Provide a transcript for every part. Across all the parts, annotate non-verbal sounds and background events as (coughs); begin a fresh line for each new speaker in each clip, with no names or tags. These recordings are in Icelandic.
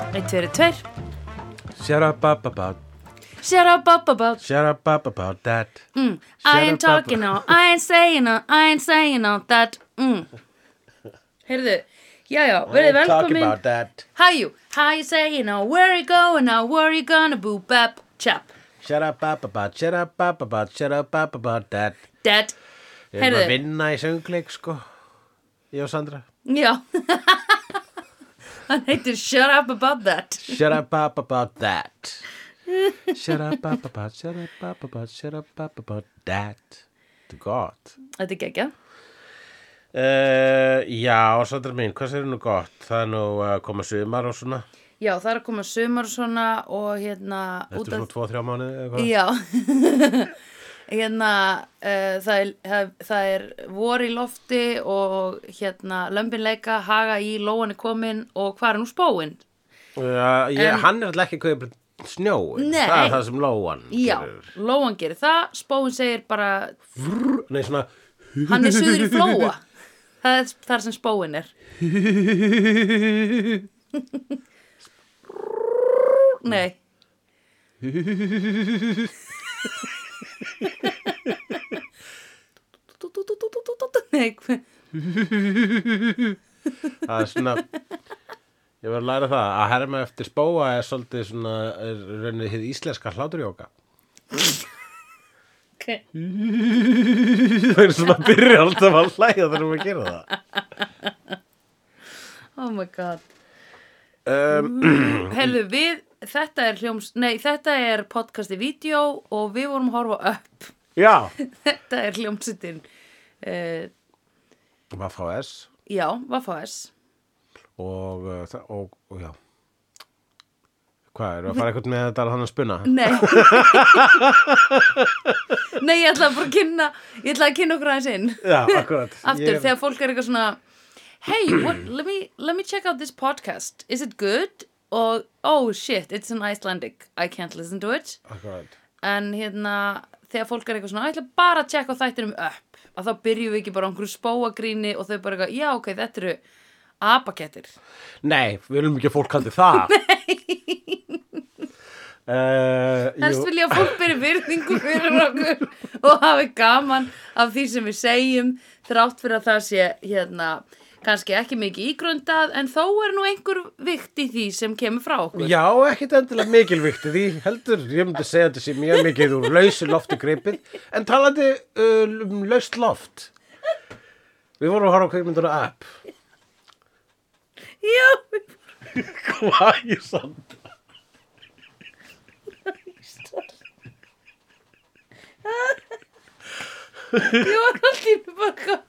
tveir
Sharabababab
Sharabababab
Sharabababab that
mm. I ain't talking now, I ain't saying now I ain't saying now that mm. Heyrðu, já já, verðið
Talking
velkomin
about that
How you, how you saying now Where you going now, where you gonna boo bap chap
Sharabababab Sharabababab Sharabababab that
That,
Við erum að
Heyrðu.
vinna í söngleik sko Ég og Sandra
já (laughs) Hann heitir Shut Up About That
Sharabababab that Sharabababab Sharabababab Sharabababab that Þetta er gott
Þetta er geggja
Uh, já, Sandra mín, hvað sér nú gott? Það er nú að koma sumar og svona
Já, það er að koma sumar og svona og hérna
Þetta er svona 2-3 mánuði eða hvað?
Já (laughs) Hérna uh, það, er, það, það er vor í lofti og hérna lömbin leika, haga í, lóan er komin og hvað er nú spóin?
Já, ég, hann er alltaf ekki að kaupa snjó
Nei.
það er það sem Lóan
Já,
gerir.
lóan gerir það, spóin segir bara
Vrr, nei svona
hann er suður í flóa það er þar sem spóin er Nei Nei, hver-
það er svona ég var að læra það að herma eftir spóa er svolítið svona er raunir hið íslenska hláturjóka (laughs)
ok.
það er svona að byrja alltaf að hlæja þegar við gerum það
Oh my god
um,
Herðu við, þetta er hljóms Nei, þetta er podcasti vídeo og við vorum að horfa upp
já,
Þetta er hljómsutin uh,
um Vaffa.s
Já, Vaffa S
og, uh, það- og, og já hvað, eru að fara eitthvað með þetta að hann að spuna?
Nei Nei, ég ætla bara að kynna Ég ætla að kynna okkur aðeins inn
já, akkurat
Aftur,
Ég-
þegar fólk er eitthvað svona Hey, what, let, me, let me check out this podcast Is it good? Og, oh shit, it's in Icelandic I can't listen to it
akkurat
En hérna, þegar fólk er eitthvað svona "Ég ætla bara að checka á þættinum upp Að þá byrjum við ekki bara á einhverju spóagríni Og þau bara eitthvað, já ok, þetta eru apakettir
Nei, við viljum ekki að fólk haldi
(laughs)
það Nei Eh,
Helst vilja að fólk byrja virðingu fyrir okkur og hafi gaman af því sem við segjum þrátt fyrir að það sé hérna kannski ekki mikið ígrundað en þó er nú einhver vikt í því sem kemur frá okkur.
Já, ekkit endilega mikilvíkt í því heldur, ég myndi segja þetta sé mjög mikið úr lausu lofti greipið en talandi uh, um laust loft Við vorum að horfa á kveikmynduna app
Já,
Hvað ég samt?
ég var alltaf bara eitthvað,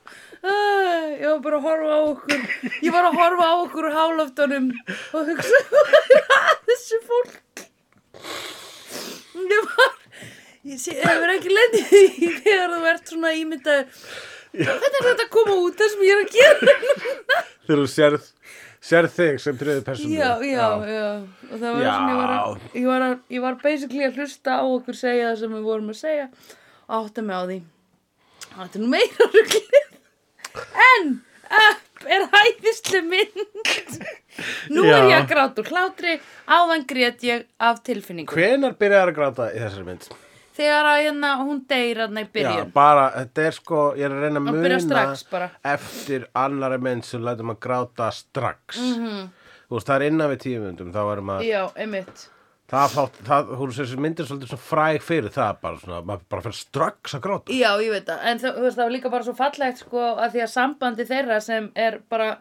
"Ah, ég var bara að horfa á okkur ég var að horfa á okkur úr háloftunum og hugsa (laughs) hvað er að þessu fólk ég var ég sé, hefur ekki lendið í því þegar þú ert svona ímyndaður hvernig er þetta að koma út það sem ég er að gera
Þegar þú sérð, sérð þig sem þriði persónu
já, já, já og það var
Já.
svona ég var, að, ég, var að, ég var basically að hlusta á okkur segja það sem við vorum að segja og átta mig á því þetta er nú meira (laughs) ruglið en upp er hæðislu mynd nú er
Já.
ég að gráta úr hlátri áðan grét ég af tilfinningu
Hvenær byrjaði að gráta í þessari mynd?
þegar að hérna hún deyr hann í
Já,
byrjun
bara, þetta er sko, ég er að reyna
Að
að
byrja
muna
strax bara.
eftir annari mynd sem lætum að gráta strax.
Mhm.
Þú veist, það er innan við tíu myndum, þá erum að,
já, einmitt
það, það, það hún sér þessi myndir svolítið svona fræg fyrir það, bara svona, maður bara fyrir strax að gráta.
Já, ég veit það, en það, þú veist, það var líka bara svo fallegt sko að því að sambandi þeirra sem er bara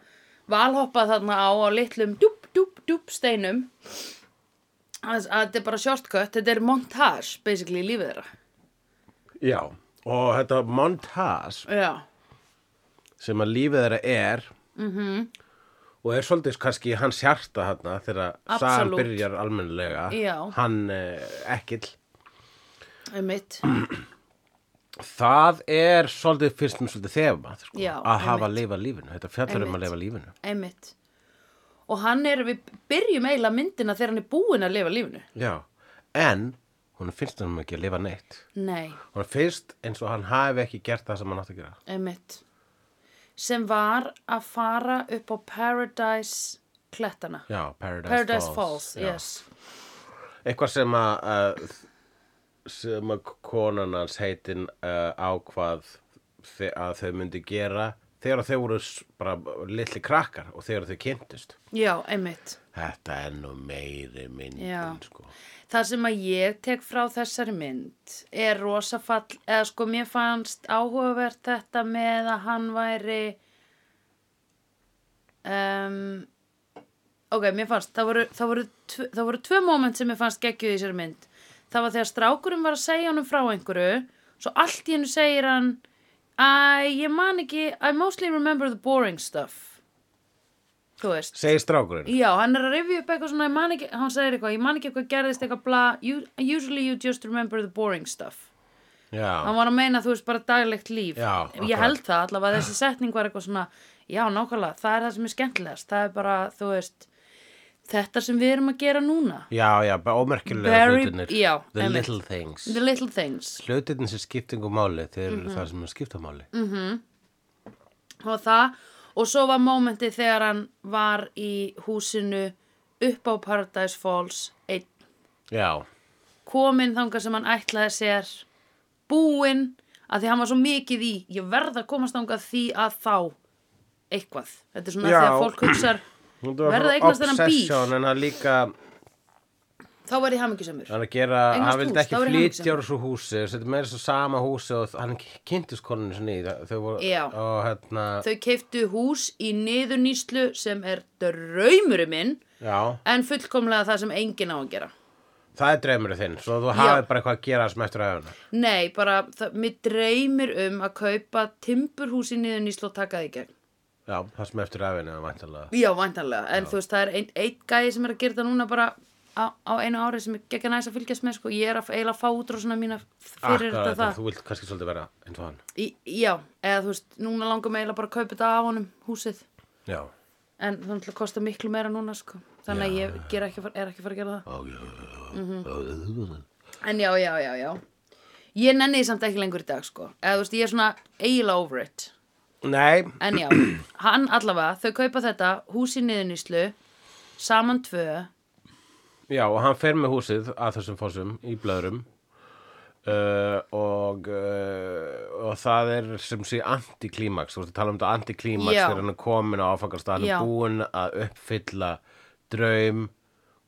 valhoppað þarna á á litlum djúp, djúp, djúp steinum að, að þetta er bara shortcut, þetta er montage basically í lífið þeirra
Já, og þetta montage
Já,
sem að lífið þeirra er,
Mhm.
-hmm. og er svolítið kannski í hans hjarta þarna, þegar sagan
Absolút.
byrjar almennilega,
Já.
hann eh, ekkill.
einmitt
Það er svolítið fyrst mér svolítið þefað sko,
Já,
að hafa að
einmitt.
lifa lífinu, þetta fjallar um að
Einmitt.
lifa lífinu.
einmitt og hann er, við byrjum eiginlega myndina þegar hann er búinn að lifa lífinu
Já, en hún finnst hann ekki að lifa neitt.
Nei,
Hún finnst eins og hann hafi ekki gert það sem hann átt að gera.
einmitt sem var að fara upp á Paradise klettana
já, Paradise,
Paradise Falls,
já.
yes
eitthvað sem að uh, sem að konan hans heitin uh, ákvað þe- að þau myndi gera þegar þau voru s- bara litli krakkar og þegar þau kynntust
Já, einmitt
þetta er nú meiri myndin
Já.
sko.
Það sem að ég tek frá þessari mynd er rosa fall, eða sko mér fannst áhugavert þetta með að hann væri, um, ok, mér fannst, það voru, það voru, tv- það voru tvö moment sem mér fannst geggjuð í þessari mynd. Það var þegar strákurinn var að segja honum frá einhverju, svo allt í hennu segir hann, Æ, ég man ekki, I mostly remember the boring stuff. Þú veist.
segir strákurinn
Já, hann er að rifja upp eitthvað svona, ég man ekki, hann segir eitthvað, ég man ekki eitthvað gerðist eitthvað bla, you, usually you just remember the boring stuff.
já,
Hann var að meina, þú veist, bara daglegt líf.
Já, akkurat.
Ég held það, allavega
(clears throat)
þessi setning var eitthvað svona, já, nákvæmlega, það er það sem er skemmtilegast, það er bara, þú veist, þetta sem við erum að gera núna.
já, já, bara ómerkilega
Very-
hlutinir
já,
the
einmitt.
little things
The Mhm. little things.
hlutinir sem skiptingu máli þeir eru það sem er skiptamáli mm.
Og það, og svo var mómentið þegar hann var í húsinu upp á Paradise Falls, einn
já,
kominn þangað sem hann ætlaði sér búinn að því hann var svo mikið í ég verð að komast þangað því að þá eitthvað, þetta er svona
Já.
þegar fólk hugsar
Þetta
Verða
var bara
að eignast þennan bíl.
obsession, en hann líka
þá var ég hamingisamur
hann að gera,
Eignast
hann vildi
hús,
ekki
þá verður hann
flytja úr þessu húsi, þetta er meira svo sama húsi og hann kynntist konunni svo nýð þau voru,
Já.
og hérna
þau keiftu hús í niðurnýslu sem er draumurinn minn
já,
en fullkomlega það sem enginn á að gera
það er draumurinn þinn svo þú
Já.
hafið bara eitthvað að gera sem eftir aðeina
nei, bara, það, mér dreymir um að kaupa timburhús í niðurnýslu og taka það í gegn
já, það sem eftir aðeina, væntanlega
Já, væntanlega, en þú veist, það er einn ein gæði sem er að gera þetta núna bara á, á einu ári sem er geggja næs að fylgjast með, sko, ég er að eiginlega að fá útrásuna mína fyrir
Akkurat,
þetta það.
þú vilt kannski svolítið vera eins og hann
Í, já, eða þú veist, núna langar mig eiginlega bara að kaupa þetta af honum, húsið,
já,
en það náttúrulega kostar miklu meira núna, sko, þannig að
Já,
ég ger ekki, að fara- er ekki að fara að gera það. Mhm. En
ó, já, já, já
já, já, já, já, ég nenni því samt ekki lengur í dag, sko, eða þú veist, ég er svona eiginlega over it.
Nei,
En já, (clears throat) hann allavega, þau kaupa þetta, hús í niðurnýslu, saman tvö,
já, og hann fer með húsið að þessum fósum í blöðrum uh, og uh, og það er sem sé antiklímaks, þú veist að tala um þetta antiklímaks
Já.
þegar hann er komin á áfangastað hann
Já.
er búinn að uppfylla draum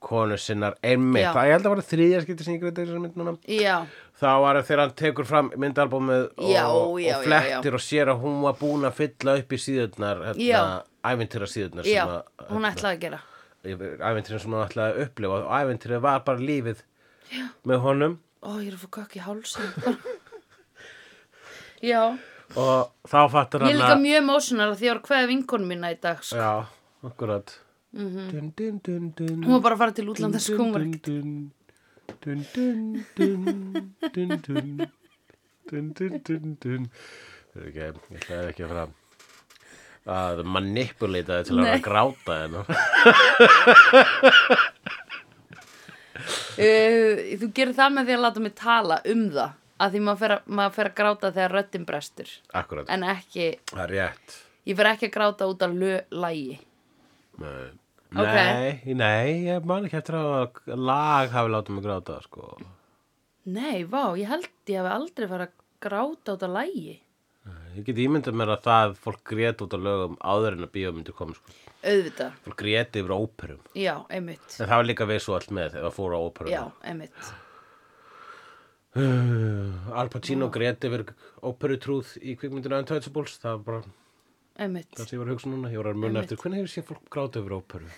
konu sinnar einmitt,
Já.
það ég held að vera þriðja skipti sem ég greið þessar mynd núna
já.
þá var það þegar hann tekur fram myndalbúmið og,
Já, já,
og
já,
flettir og sér að hún var búin að fylla upp í síðurnar hérna,
Já.
ævintýra síðurnar
Já,
sem að hérna.
hún ætlaði að gera
æventirinn sem hann ætlaði að upplifa og æventirinn var bara lífið Já. með honum
Ó, ég er að fá kökk í hálsum Já
og þá fattar
Ég er
hann
líka mjög emotional af því ég var hvað vinkonu mína í dag sko.
Já, akkurat dun, dun, dun, dun,
Mhm. Hún var bara að fara til útlanda sko hún var ekki
dun, dun, dun, dun, dun, dun, dun, dun, dun, dun. Þetta er ekki, ég ætlaði ekki að fara að manipulita þig til að vera að gráta hérna. hennar.
uh, Þú gerir það með því að láta mig tala um það að því maður fer að, maður fer að gráta þegar röddin brestur
Akkurat,
en ekki,
það er rétt.
ég fer ekki að gráta út af lölægi
Nei,
Ok.
nei, nei, ég man ekki eftir að lag hafi látið mig gráta, sko.
Nei, vá, ég held ég hafi aldrei farið að gráta út af lægi
Ég get ímyndað mér að það fólk grét út af lögum áður en að bíómyndu kom, sko.
Auðvitað,
Fólk gréti yfir óperum.
já, einmitt
En það var líka við svo allt með ef að fóra á óperum.
Já, einmitt
(sighs) Al Pacino gréti yfir óperutrúð í kvikmyndinu Untouchables. Það var bara
Einmitt
það sem ég var að hugsa núna. Ég var að muna eftir, hvernig hefur séð fólk gráta yfir óperu?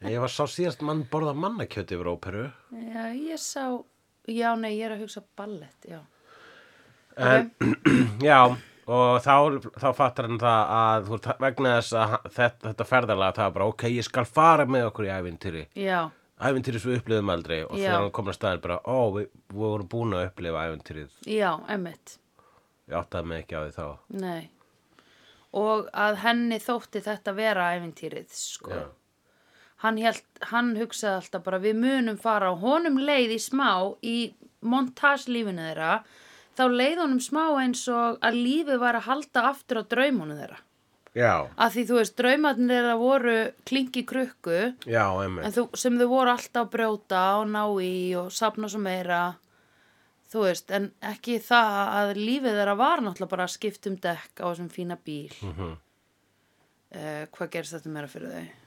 Já. ég var sá síðast mann borða mannakjöti yfir óperu.
Já, ég sá, já, nei, ég er að hugsa ballett, já.
En, (clears throat) já, og þá, þá fattar hann það að þú, veist, vegna þess að hann- þetta, þetta ferðalega það er bara, ok, ég skal fara með okkur í ævintýri.
Já,
Ævintýri sem við upplifum aldrei og
Já.
þegar hann komur að staðar bara, ó, við, við vorum búin að upplifa ævintýrið.
já, emmitt,
Ég áttaði mig ekki á því þá.
nei. Og að henni þótti þetta vera æfintýrið, sko.
Já.
Hann, held, hann hugsaði alltaf bara, við munum fara og honum leið í smá í montaslífinu þeirra, þá leið honum smá eins og að lífið var að halda aftur á draumunum þeirra.
já,
að því þú veist, draumarnir þeirra voru klingi krukku
já, emmi
en þú, sem þau voru alltaf að brjóta og ná í og sapna svo meira þú veist, en ekki það að lífið þeirra var náttúrulega bara að skipta um dekk á þessum fína bíl mm
Mhm.
hvað gerst þetta meira fyrir þau?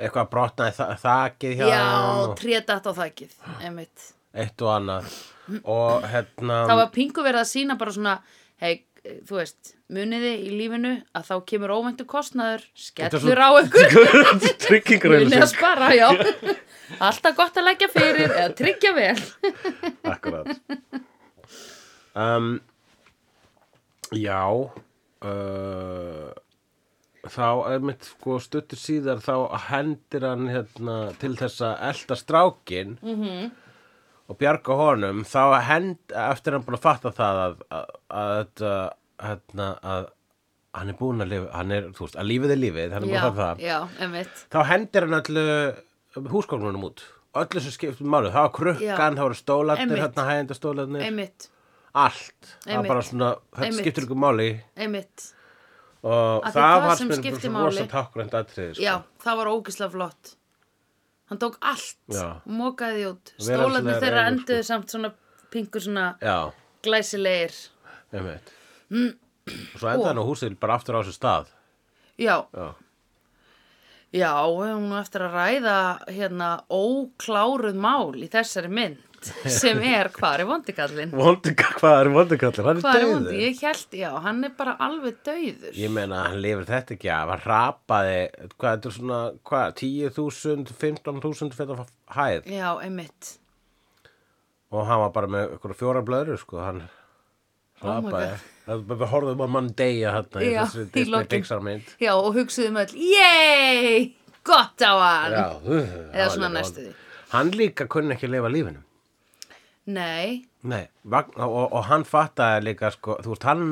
Eitthvað brotnaði þa þakið hjá honum
Já,
og
trédatt á þakkið, einmitt
eitt og annað og hérna
Það
(laughs)
var pingu verið að sína bara svona hei, þú veist, muniði í lífinu að þá kemur óvæntu kostnaður
Þetta er
skellur
svo-
á ykkur Munið að
tryggingröðlisins
spara, já
(laughs)
Alltaf gott að leggja fyrir eða tryggja vel
Akkurat um, Já uh, Þá einmitt sko stuttur síðar þá hendir hann hérna til þess að elta strákin -hmm. og bjarga honum þá hend eftir hann búin að fatta það að, að, að þetta hérna að hann er búin að lifa hann er, þú veist, að lífið er lífið hann er búin að fatta það
já, einmitt
þá hendir hann öllu húsgóknunum út öllu sem skiptum máli, það var
Já.
krukkan það voru stólarnir,
Einmitt.
hérna hægjandastólarnir
Einmitt,
allt, það var
Einmitt.
bara svona þetta
Einmitt.
skiptir ykkur máli
einmitt
og
Af því það
það var
sem
mér bara
skipti
svona
máli.
rosa tákgrænt atriði sko.
Já, það var ógislega flott Hann tók allt,
Já.
mokaði því út
Veraldlegar
Stólarnir þeirra
eigur, sko.
enduðu samt svona pingu svona
já,
glæsilegir
einmitt og svo enda hann á húsið bara aftur á þessu stað
Já,
já,
Já, við höfum nú eftir að ræða hérna ókláruð mál í þessari
(laughs)
mynd sem er hvar er vondikallin?
Vondika, hvað er vondikallir, hann
Hvar
er
er vondi?
döður
Ég held, já, hann er bara alveg dauður.
ég meina, hann lifir þetta ekki af hann rapaði, hvað, þetta er svona hvað, 10.000, 15.000 fyrir að hæð
Já, einmitt.
og hann var bara með ykkur fjóra blöðru sko, hann
Oh my
hrapaði oh við horfum á mann deyja hérna í
Já,
þessari
í
Disney
lokin.
Pixar mynd
Já, og hugsuðum öll, yey, gott á hann.
já, uh,
Eða
það
svona
var
næstu
líka
því.
vond. hann líka kunni ekki að lifa lífinu
Nei,
Nei, vagn, og, og, og hann fattaði líka sko, þú veist, hann,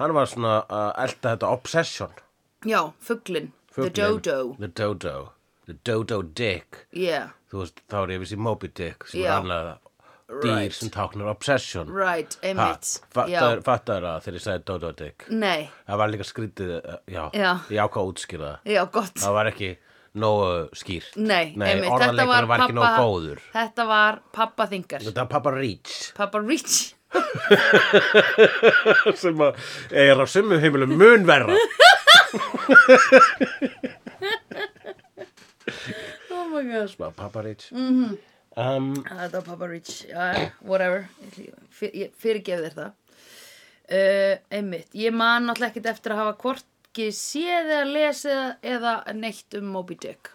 hann var svona að elta þetta obsession
já, fugglin, the
Fuglinn.
dodo,
the dodo, the dodo dick
yeah,
þú veist, þá er ég vissi Moby Dick sem
Já.
er annað dýr
Right.
sem táknar obsession
right,
Ha,
einmitt.
fattaður fattaður það þegar ég sagði dodo dick
Já, nei,
Það var líka skrítið, uh, já,
Já.
ég ákvað að útskýra það.
já, gott.
Það var ekki nógu skýrt.
Nei,
Nei
einmitt, þetta var
orðanleikurinn var ekki nógu
pappa-
góður.
Þetta var pappa þingar,
Þetta var pappa Reach
pappa Rich.
(laughs) sem að er á sumum heimilum mun verra.
(laughs) Oh my gosh.
Smá pappa Reach. Mm
Mhm.
-hmm. um,
Þetta var Papa Rich, já, whatever, fyrirgef þér það. Uh, einmitt, ég man náttúrulega ekkert eftir að hafa hvorki séð eða lesið eða neitt um Moby Dick.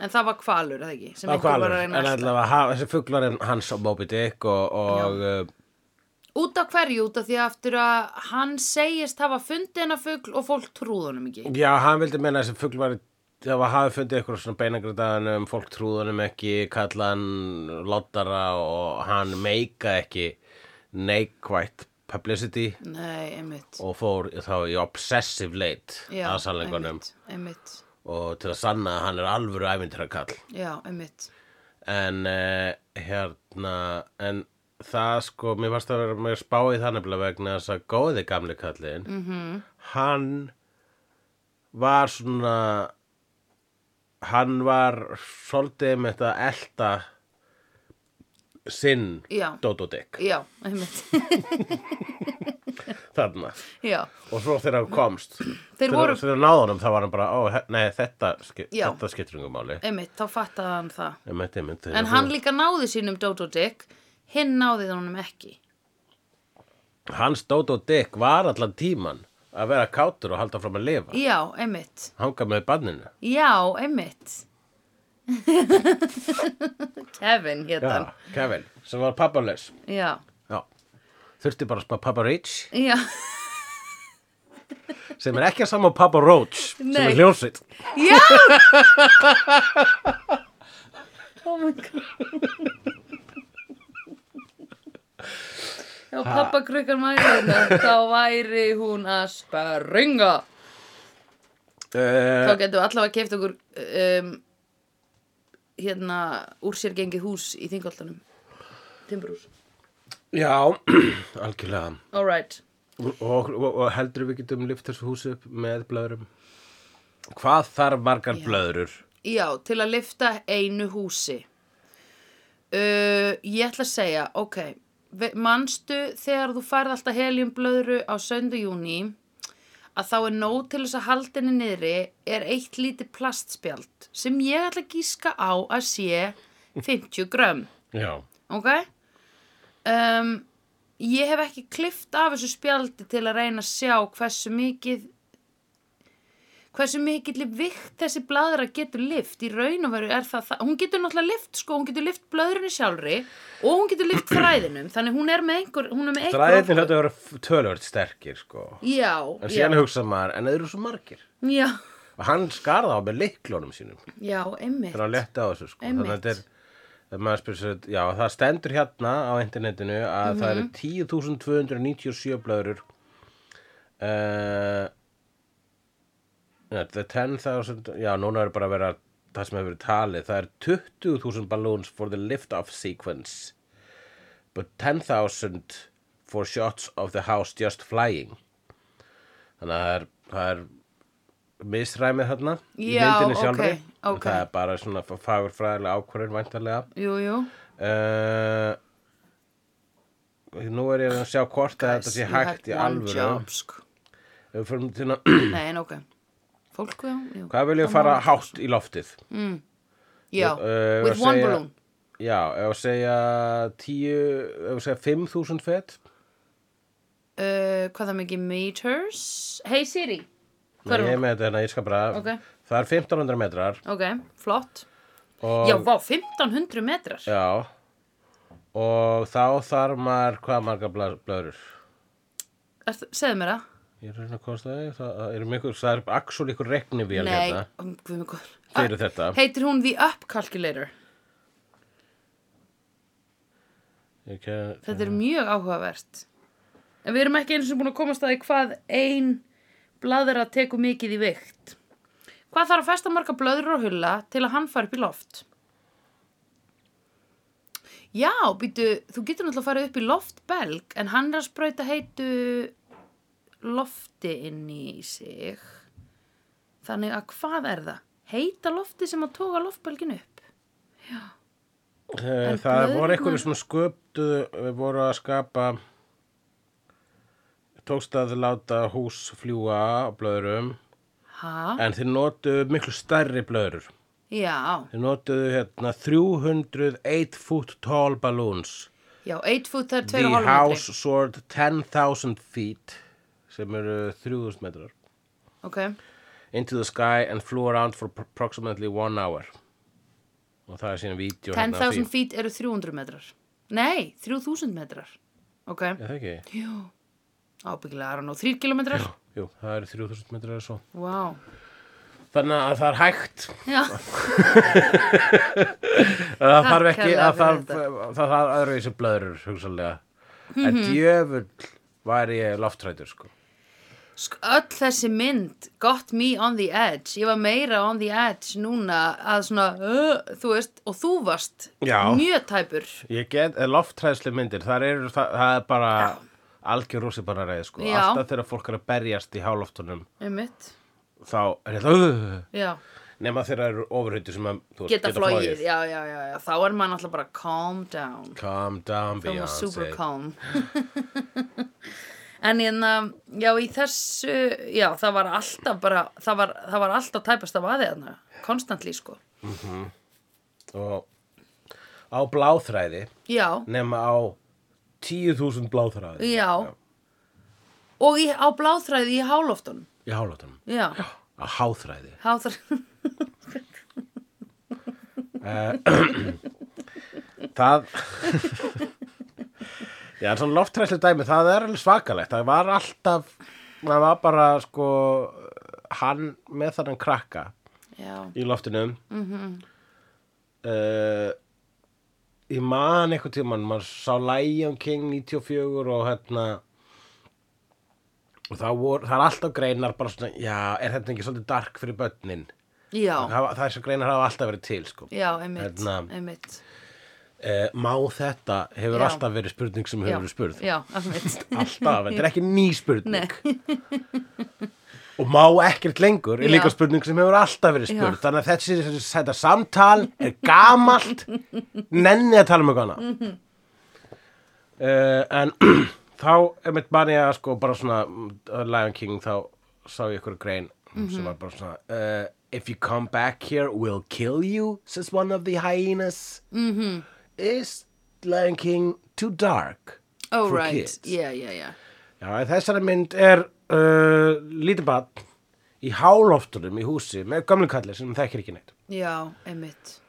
En það var kvalur, eða ekki? Sem
það var
einhver var
kvalur,
að
en
reyna að elta.
allavega ha- þessi fuglarinn hans á Moby Dick og, og uh,
Út af hverju, út af því aftur að hann segist hafa fundið hennar fugl og fólk trúð honum ekki.
já, hann vildi meina að þessi fugl var það var hafið fundið eitthvað svona beinagrindaðanum, fólk trúðanum ekki, kallan lottara og hann meika ekki neikvætt publicity
Nei, einmitt.
og fór þá í obsessive leit
Já,
að sannleikunum
einmitt, Einmitt,
og til að sanna að hann er alvöru æfintrakall
já, einmitt.
en uh, hérna en það sko, mér varst að vera með spáið það nefnilega vegna þess að góði gamli kallin -hmm.
Mhm.
hann var svona hann var svolítið með þetta elta sinn
Já.
Dódódik
Já, einmitt, (laughs)
þarna
já,
og svo þegar hann komst þegar,
voru-
þegar náðanum þá var hann bara ó, he- nei, þetta, skip,
Já.
þetta skiptir yngur máli
einmitt, þá fattaði hann það.
en, þetta, mynd,
En hann líka náði sínum Dodo Dick, hinn náði það honum ekki.
hans Dodo Dick var allan tíman að vera kátur og halda fram að lifa
Já, einmitt.
hanga með banninu
Já, einmitt. (laughs) Kevin hétt hann.
Kevin, sem var pappalaus
Já,
Já. þurfti bara að spá pappa Rich
já,
sem er ekki að sama og pappa Roach sem
Nei.
er hljónsveit
já! (laughs) oh my god. Já, pappa krukkan væri hérna, þá væri hún að springa. Þá
uh,
getum við allavega keft okkur um, hérna úr sér gengið hús í þingoltanum. Timbrús.
Já, (clears throat) algjörlega
All right.
og, og, og heldur við getum lift þessu húsi upp með blöðrum hvað þarf margar blöðrur
Já, til að lifta einu húsi. Uh, ég ætla að segja, ok, ve- manstu þegar þú færð alltaf heliumblöðru á söndu júni að þá er nóg til þess að haldinni niðri er eitt lítið plastspjald sem ég ætla að gíska á að sé 50 grömm,
já,
ok? Um, ég hef ekki klift af þessu spjaldi til að reyna að sjá hversu mikið hversu mikill vikt þessi bladra getur lift í raun og veru er það, það hún getur náttúrulega lift sko, hún getur lift blöðrunni sjálfri og hún getur lift þræðinum þannig hún er með einhver, hún er með einhver
þræðin hljóta að vera tölvöld sterkir sko
já,
en
já,
síðan hugsa maður, en þeir eru svo margir
já,
og hann skarða á með leiklónum sínum
já, einmitt
þegar hann letta á þessu sko þannig
Einmitt.
að þetta er ef maður spyrir sér, já, það stendur hérna á internetinu að það
Mhm.
eru 10.297 blöðrur uh, the 10.000 já, núna er bara að vera það sem hefur verið talið, það er 20.000 balloons for the lift-off sequence but 10.000 for shots of the house just flying þannig að það er, það er misræmið þarna í
Já,
myndinni sjálfri
ókei, ókei.
það er bara svona fagurfræðilega ákvörðin væntalega
jú, jú,
uh, nú er ég að sjá hvort að þetta sé
you had
hægt í
one
alvöru
job, sko.
Ef við förum til að- (clears throat)
nei, en ok fólk, já, jú
hvað vil ég
Það
fara
má-
hátt í loftið
já,
Eh,
with
að
one
segja-
balloon
já, ef að segja 10, ef að segja 5.000 fet
uh, hvað það mikið meters hey Siri, hvað
Nei,
er
ég er
hún?
með þetta hérna, ég skal bara
Ok.
það er 1500 metrar
ok, flott
og,
já, vá, 1500 metrar
já, og þá þarf maður hvað marga bla- blöðrur
Er það- segðu mér það
ég er að reyna að kosta það, það er mikur það er axul ykkur regnivél
Nei,
hérna
um, guð mig góður.
Fyrir
Ah,
þetta.
Heitir hún The Up Calculator
Ég ke-
Þetta er mjög áhugavert En við erum ekki eins og búin að komast að því hvað ein blaðra tekur mikið í vikt Hvað þarf að festa marga blöður á hulla til að hann fari upp í loft? Já, býtu, þú getur náttúrulega að fara upp í loftbelg en hann er að sprauta heitu lofti inn í sig Þannig að hvað er það? Heita lofti sem að toga loftbelgin upp
Eh,
En
Það
blöðrurnar-
voru einhverju sem sköptu, eh, voru að skapa, tókst að láta hús fljúa á blöðrum,
Ha?
en þeir notuðu miklu stærri blöður.
Já,
Þeir notuðu hérna 308 foot tall balloons.
já, 8 foot það er
The
2,5 metri
house soared 10,000 feet, sem eru 3.000 metrar,
Ok,
into the sky and flew around for approximately one hour. Og það er síðan vídeo hérna
10.000 feet eru 300 metrar. Nei, 3.000 metrar. Ok,
Er það ekki?
jú, ábyggilega er hann á 3 kilometrar. Vá,
Jú, það eru 3.000 metrar eða svo.
wow.
Þannig að það er hægt
já,
Það þarf ekki,
kærlega
það
fyrir
þarf, það þarf öðruvísi blöðrur, hugsanlega.
Mhm.
En djöfull var ég loftrætur, sko.
Sk- öll þessi mynd got me on the edge. Ég var meira on the edge núna að svona, uh, þú veist, og þú varst
Já.
mjög tæpur.
Ég get, eh, loftræðslu myndir, það er, það, það er bara algjör rússi bara reið, sko.
Já.
Alltaf þegar fólk er að berjast í háloftunum,
Einmitt,
þá er þetta, uh,
já.
nema þegar það eru ofurhutu sem að, þú veist,
Geta flogið, já, já, já, já. Þá er maður alltaf bara calm down.
Calm down,
Hún var
Beyonce.
super calm (laughs) En hérna, já í þessu, já það var alltaf bara, það var, það var alltaf tæpast af aðeð hérna, konstantli sko.
Og á bláþræði,
Já,
nema á 10.000 bláþræði
já, og í, á bláþræði í háloftunum,
í háloftunum.
já,
Á háþræði.
háþræði,
Það
(laughs)
Já, en svona loftræslu dæmi, það er alveg svakalegt Það var alltaf Það var bara, sko Hann með þennan krakka
(laughs) já,
Í loftinum mm
Mhm.
Ég man einhvern tímann Maður sá Lion King 94 Og hérna Og það, vor, það er alltaf greinar bara svona, já, er þetta ekki svolítið dark fyrir börnin?
já,
Það, það er svo greinar hafa alltaf verið til, sko.
já, einmitt,
Hérna.
einmitt,
eh, má þetta hefur
Já.
alltaf verið spurning sem hefur verið spurð
já, alveg (laughs)
(laughs) alltaf, þetta er ekki ný
Nei.
spurning og má ekkert lengur er
Já.
líka spurning sem hefur alltaf verið spurð
Já.
þannig að þessi, þessi, þetta samtal er gamalt nenni að tala um eitthvað annað
Mhm.
uh, en (clears throat) þá er mitt manni að sko bara svona uh, Lion King þá sá ég ykkur grein
Mhm.
sem var bara svona uh, if you come back here we'll kill you says one of the hyenas mm
Mhm.
-hmm. is Lion King too dark
oh
for
right,
kids?
já, já, já
Já, í þessari mynd er uh, lítið barn í háloftunum í húsi með gömlu kalli sem hún þekkir ekki neitt
já, einmitt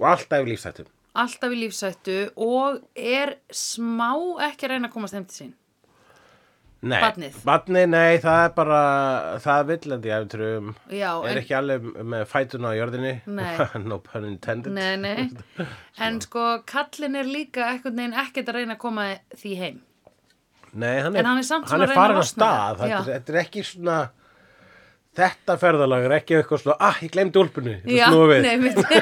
og alltaf í lífsættum
alltaf í lífsættu og er smá ekki að reyna að komast heim til sín
Nei,
Barnið.
Barnið, nei, það er bara það villandi æfntrum
já,
er ekki alveg með fætuna á jörðinni
Nei.
(laughs) no pun intended
nei, nei. en sko kallin er líka ekkert neginn ekkert að reyna að koma því heim
Nei, hann
En
er,
hann er samt svona að
er
reyna að
farin að
losna
stað
við.
þetta er,
Já.
þetta er ekki svona þetta ferðalag er ekki eitthvað svona ah, ég glemdi úlpunni,
Já,
þetta snúa við
nei, mitt (laughs)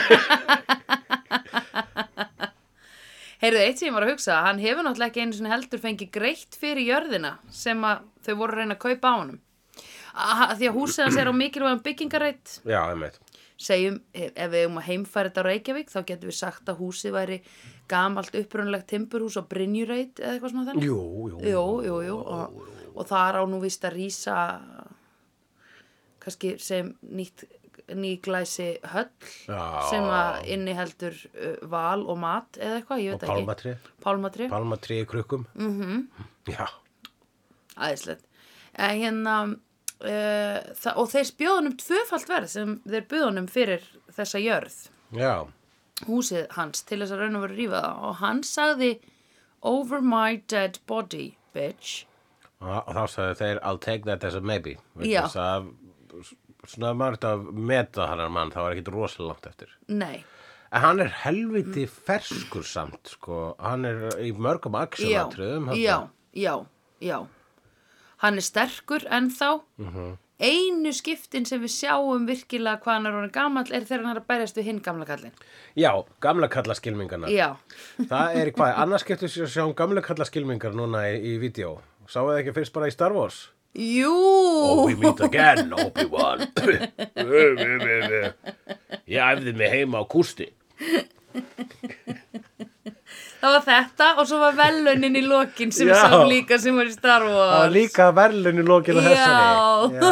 Heyrðu, eitt sem ég var að hugsa, hann hefur náttúrulega ekki einu sinni heldur fengið greitt fyrir jörðina sem að þau voru að reyna að kaupa á honum. Ah, Því að húsið hans er á mikilvægum byggingareitt,
Já, einmitt
segjum, ef ef við um að heimfæra þetta á Reykjavík, þá getum við sagt að húsið væri gamalt upprunalegt timburhús á Brynjureit eða eitthvað svona þannig.
Jú, jú,
Jú, jú, jú, og, og þar á nú vist að rýsa kannski sem nýtt nýglæsi höll
Já.
sem að inniheldur uh, val og mat eða eitthvað, ég
og
veit ekki Mhm.
pálmatri
Pálmatri,
pálmatri í krukkum mm -hmm. Já,
aðeinslegt en hérna uh, þa- og þeir bjóðunum tvöfalt verð sem þeir bjóðunum fyrir þessa jörð
já
húsið hans til þess að raun og vera rífa það og hann sagði over my dead body bitch
Og og þá sagði þeir, I'll take that as a maybe. Vegna
Já.
þess að, Svona ef maður þetta að meta hannar mann, þá er ekkit rosalega langt eftir.
nei,
En hann er helviti
Mm.
ferskur samt, sko. Hann er í mörgum axelatriðum. þarna.
já, já, já hann er sterkur ennþá
Mhm.
einu skiptin sem við sjáum virkilega hvað hann er orðin gamall er þegar hann er að berjast við hinn gamla kallinn
Já, gamla kalla skilmingana.
já,
(laughs) Það er í hvað, annars skiptu sér að sjá um gamla kalla skilmingar núna í, í vídeo. Sáðu það ekki fyrst bara í Star Wars?
jú
Oh, we meet again, (laughs) Obi-Wan. Ég æfði mig heima á kústi.
það var þetta og svo var velunin í lokin sem við
Já.
sáum líka sem var í Star
Það var
Wars
líka verðlun í lókinu
Já.
þessari. Já.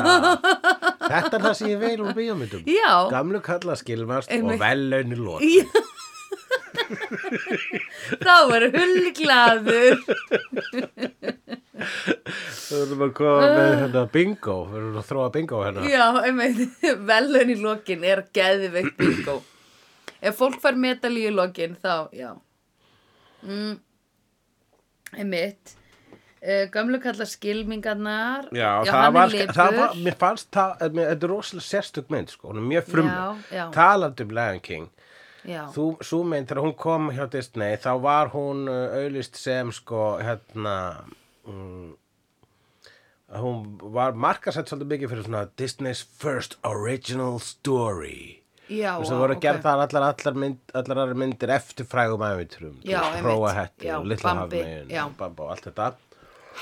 Þetta er það sem ég veil úr bíómyndum.
Já.
Gamlu kalla skilmast
Einmitt.
og verðlun í lókinu.
Já. (laughs) þá var hullglaður
Við erum að koma með hérna, bingo. Við erum að þróa bingo hérna.
Já, einmitt, (laughs) velun í lokin er geðveikt bingo. Ef fólk fær medalíu í lokin, þá, já. Mm. Einmitt, uh, gömlu kallar skilmingarnar.
Já,
hann
það
er
var,
lipur.
það var, mér fannst það, eh, mér, þetta er rosalega sérstök mynd, sko, hún er mjög frumleg,
Já, já.
talandi um Lion King,
Já,
þú, svo mynd, þegar hún kom hjá Disney, þá var hún uh, auðlist sem, sko, hérna, um, hún var markasett svolítið mikið fyrir svona Disney's first original story.
já.
Þú veist, það voru
ok.
gerðar allar, allar, mynd, allar aðrar myndir eftir frægum æfintrum.
Já, einmitt.
Próa hætti
Já,
og litla
Bambi,
hafmegin
já.
og bamba og allt þetta.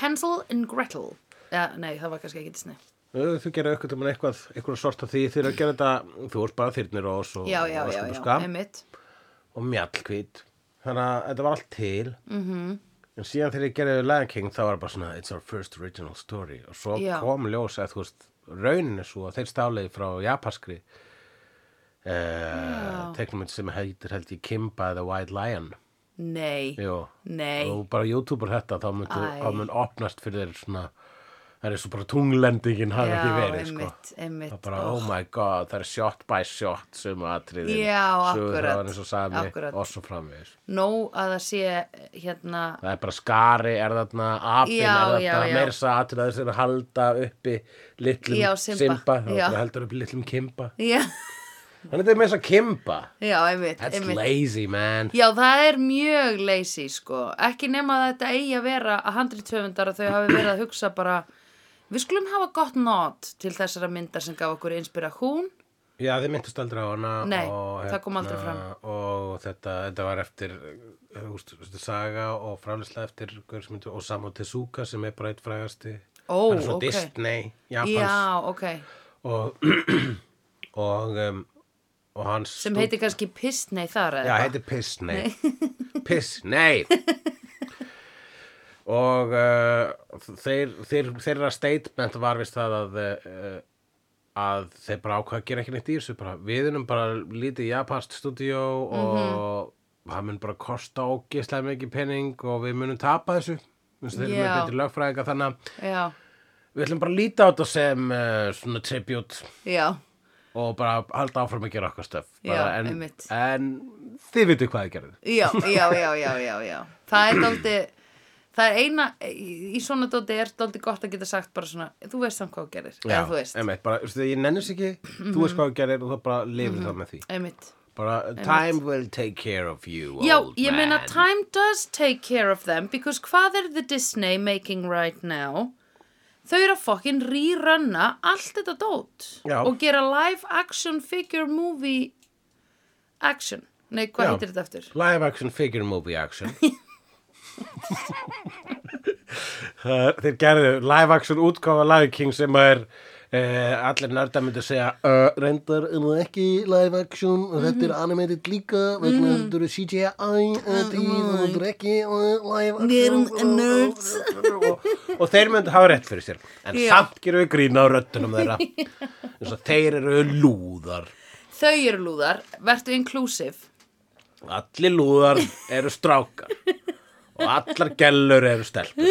Hansel and Gretel. Ja, nei, það var kannski ekki Disney.
Þú, þú gerir aukvöld um eitthvað, eitthvað sort af því þegar að gera þetta, þú ert bara þyrnir og svo
Já, já,
og, sko.
já, já,
öskubuska
einmitt.
og mjallkvít. Þannig að þetta var allt til.
Mhm.
Mm -hmm. En síðan þegar ég gerði Lion King þá var bara svona, it's our first original story. Og svo
Já.
kom ljós að þú veist, raunin er svo að þeir stáleiði frá japanskri eh, teknumind sem heitir held ég Kimba the White Lion.
Nei,
Jú.
nei.
og bara youtuber þetta þá myndi,
Æ.
þá mun opnast fyrir þeir svona það er svo bara tunglendingin hafi
Já,
ekki verið
einmitt,
sko.
einmitt.
það er bara oh. my god það er shot by shot sem atriðin
Já, akkurat,
eins og sami
akkurat.
og svo framvegis
Nó að það sé hérna
það er bara skari er þarna apinn
Já,
er
já,
þarna
já.
meira svo atriðaður sem halda uppi litlum
Já, Simba.
það
Já.
er bara heldur uppi litlum kimba
Já, (laughs)
þannig að þetta er meira svo kimba
já, einmitt,
that's
einmitt.
lazy man
Já, það er mjög lazy, sko. Ekki nema að þetta eigi að vera að handritöfundar að þau hafi verið að hugsa bara við skulum hafa gott not til þessara myndar sem gaf okkur inspiration
Já, þið myndist aldrei á hana
Nei,
og,
það kom aldrei
hérna, Og þetta, þetta var eftir eh, úst, úst, saga og frálislega eftir hver sem myndi, og Samu Tezuka sem er bara eitt frægasti
Ó,
Hann er svona
ok.
Disney, Japans
Já, ok.
og, (clears throat) og, um, og hans
Sem heitir kannski Pistney þar eða
Já,
eitthvað.
heitir Piss, nei. (laughs) Piss, nei. Og uh, þeir, þeir, þeirra statement var vist það að, uh, að þeir bara ákvað að gera ekki neitt í þessu. Bara, við erum bara lítið japanst stúdíó og
Mhm.
það mun bara kosta ógislega mikið pening og við munum tapa þessu. Þú veist, Þeir eru með
Já.
betri lögfræðinga þannig að
Já,
við ætlum bara að líta á þetta sem uh, svona tribute
já,
og bara halda áfram að gera okkar stöf. Bara,
Já,
en,
einmitt.
en þið vitið hvað þið gerðu.
já, já, já, já, já, já. Það er dóldi, það er eina, í svona dóldi er dóldi gott að geta sagt bara svona, þú veist samt hvað þú gerir, eða þú veist,
Einmitt, bara, veistu, ég nennist ekki, þú veist hvað þú gerir og þá bara lifir mm
Mhm.
það með því.
einmitt.
Bara, time will take care of you,
Já,
old
ég
man.
meina time does take care of them because hvað er the Disney making right now? Þau eru að fokkin rýranna allt þetta dót
Já.
og gera live action figure movie action. Nei, hvað
Já.
heitir þetta eftir?
Live action figure
(laughs)
movie action. (laughs) Það er- Uh, Þeir gerðu live action útgáfa Lion King sem er eh, allir nördar myndu segja uh, reyndar er það ekki live action
Mhm.
og þetta er animated líka vegna þetta eru CGI uh, því, og þetta er ekki uh, live action
Við erum
uh,
nerds.
og, og þeir myndu hafa rétt fyrir sér en
Já.
samt gerum við grína á röddunum þeirra
(laughs)
eins og þeir eru lúðar
Þau eru lúðar, vertu inclusive.
allir lúðar eru strákar og allar gellur eru stelpur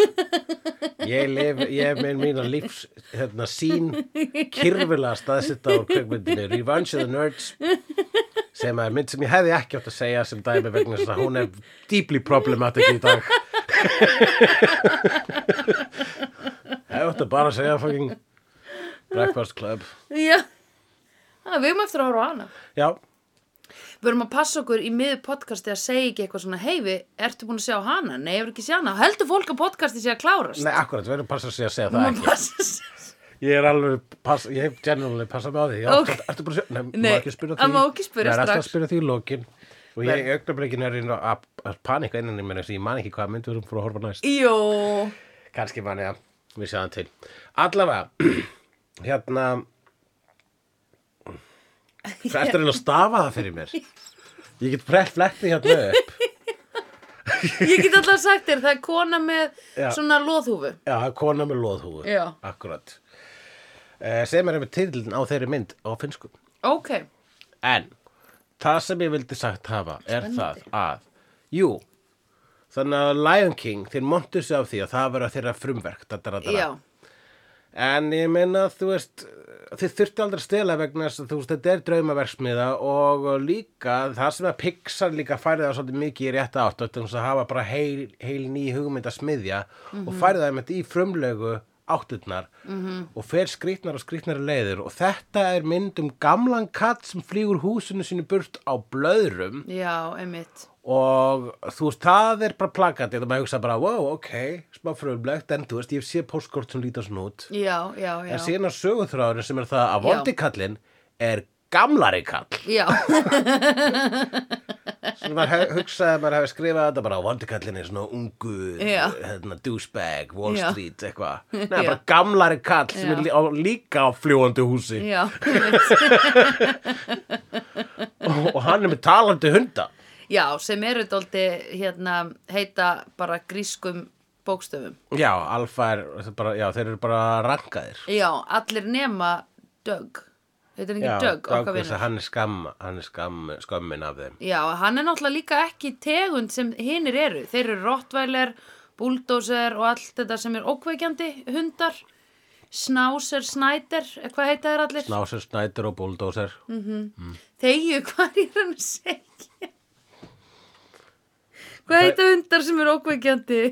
ég lif, ég með mína lífs hérna sín kyrfilega staðsitta úr kveikmyndinni Revenge of the Nerds sem er mynd sem ég hefði ekki átt að segja sem dæmi vegna þess að hún er deeply problematic í dag ég átt að bara að segja fucking Breakfast Club
Já, það, við erum eftir að horfa á hana.
já,
Við erum að passa okkur í miður podcasti að segja ekki eitthvað svona, hei, við, ertu búin að sjá hana? Nei, ég er ekki að sjá hana. Heldur fólk að podcasti sé að klárast?
nei akkurat, við erum passað að segja að segja það
Maður
ekki
passa sig.
Ég er alveg, pass, ég hef generally passað mig á því. Já,
Ok.
ertu- Ertu bara að sjá? Nei,
Nei,
má ekki spyrja því.
það má ekki spyrja
Ég er alltaf að
strax.
spyrja því í lokin. Og ég í augnablikinu er inn á- að, að panika innan í mér eins og ég man ekki hvað myndum við erum fyrir að horfa næst.
Jó,
Kanski man ég að við sjáum til. Allavega, (clears throat) hérna,
(laughs)
eftir en að stafa það fyrir mér. Ég get frett fletti hérna upp.
(laughs) ég get alltaf sagt þér, það er kona með
Já.
svona loðhúfu.
Já, það er kona með loðhúfu.
Já.
Akkurat. Eh, sem er einmitt tilin á þeirri mynd á finnskum.
Ok,
En það sem ég vildi sagt hafa er það að, jú, þannig að Lion King, þeir montu sig af því að það vera þeirra frumverk, dadara,
já,
dadara. En ég meina, þú veist, þið þurfti aldrei að stela vegna þess að þú veist, þetta er draumaverksmiða og líka það sem að Pixar líka færði það svolítið mikið í rétta átt, þetta er að hafa bara heil, heil ný hugmynd að smiðja og færði það með þetta í frumlegu átturnar og fer skrýtnar og skrýtnar leiðir og þetta er mynd um gamlan katt sem flýgur húsinu sínu burt á blöðrum
já, einmitt.
og þú veist, það er bara plakandi og maður hugsa bara, wow, ok, smá frumlegt en þú veist, ég sé postkort sem lítar svona út
Já, já, já.
En síðan á sögutráðurinn sem er það að vondi kallinn er gamlari kall.
Já, (laughs)
Svona maður hef- hugsaði að maður hefði skrifað þetta bara á vondi kallinn er svona ungur,
Já.
hérna, douchebag, Wall
Já.
Street,
(laughs)
eitthvað. Nei, bara
Já.
gamlari kall sem
Já.
er lí- á, líka á fljóandi húsi
já, einmitt.
(laughs) og, og hann er með talandi hunda.
já, sem eru dóldi hérna heita bara grískum bókstöfum.
Já, alfa er, þetta er bara, já, þeir eru bara rankaðir.
Já, allir nema Doug. Heitir hann
Já,
ekki Doug, okkar
þess að
vinur?
hann er skamm, hann er skamm, skömmin af þeim.
Já, hann er náttúrulega líka ekki tegund sem hinir eru. Þeir eru rottvæler, bulldozer og allt þetta sem er ókveikjandi hundar. Snáser, snæter, eh, hvað heita þeir allir?
Snásur, snætur og búldósar.
Þegju, (laughs) hvað er hann að segja? Hvað heita hundar sem er ókveikjandi?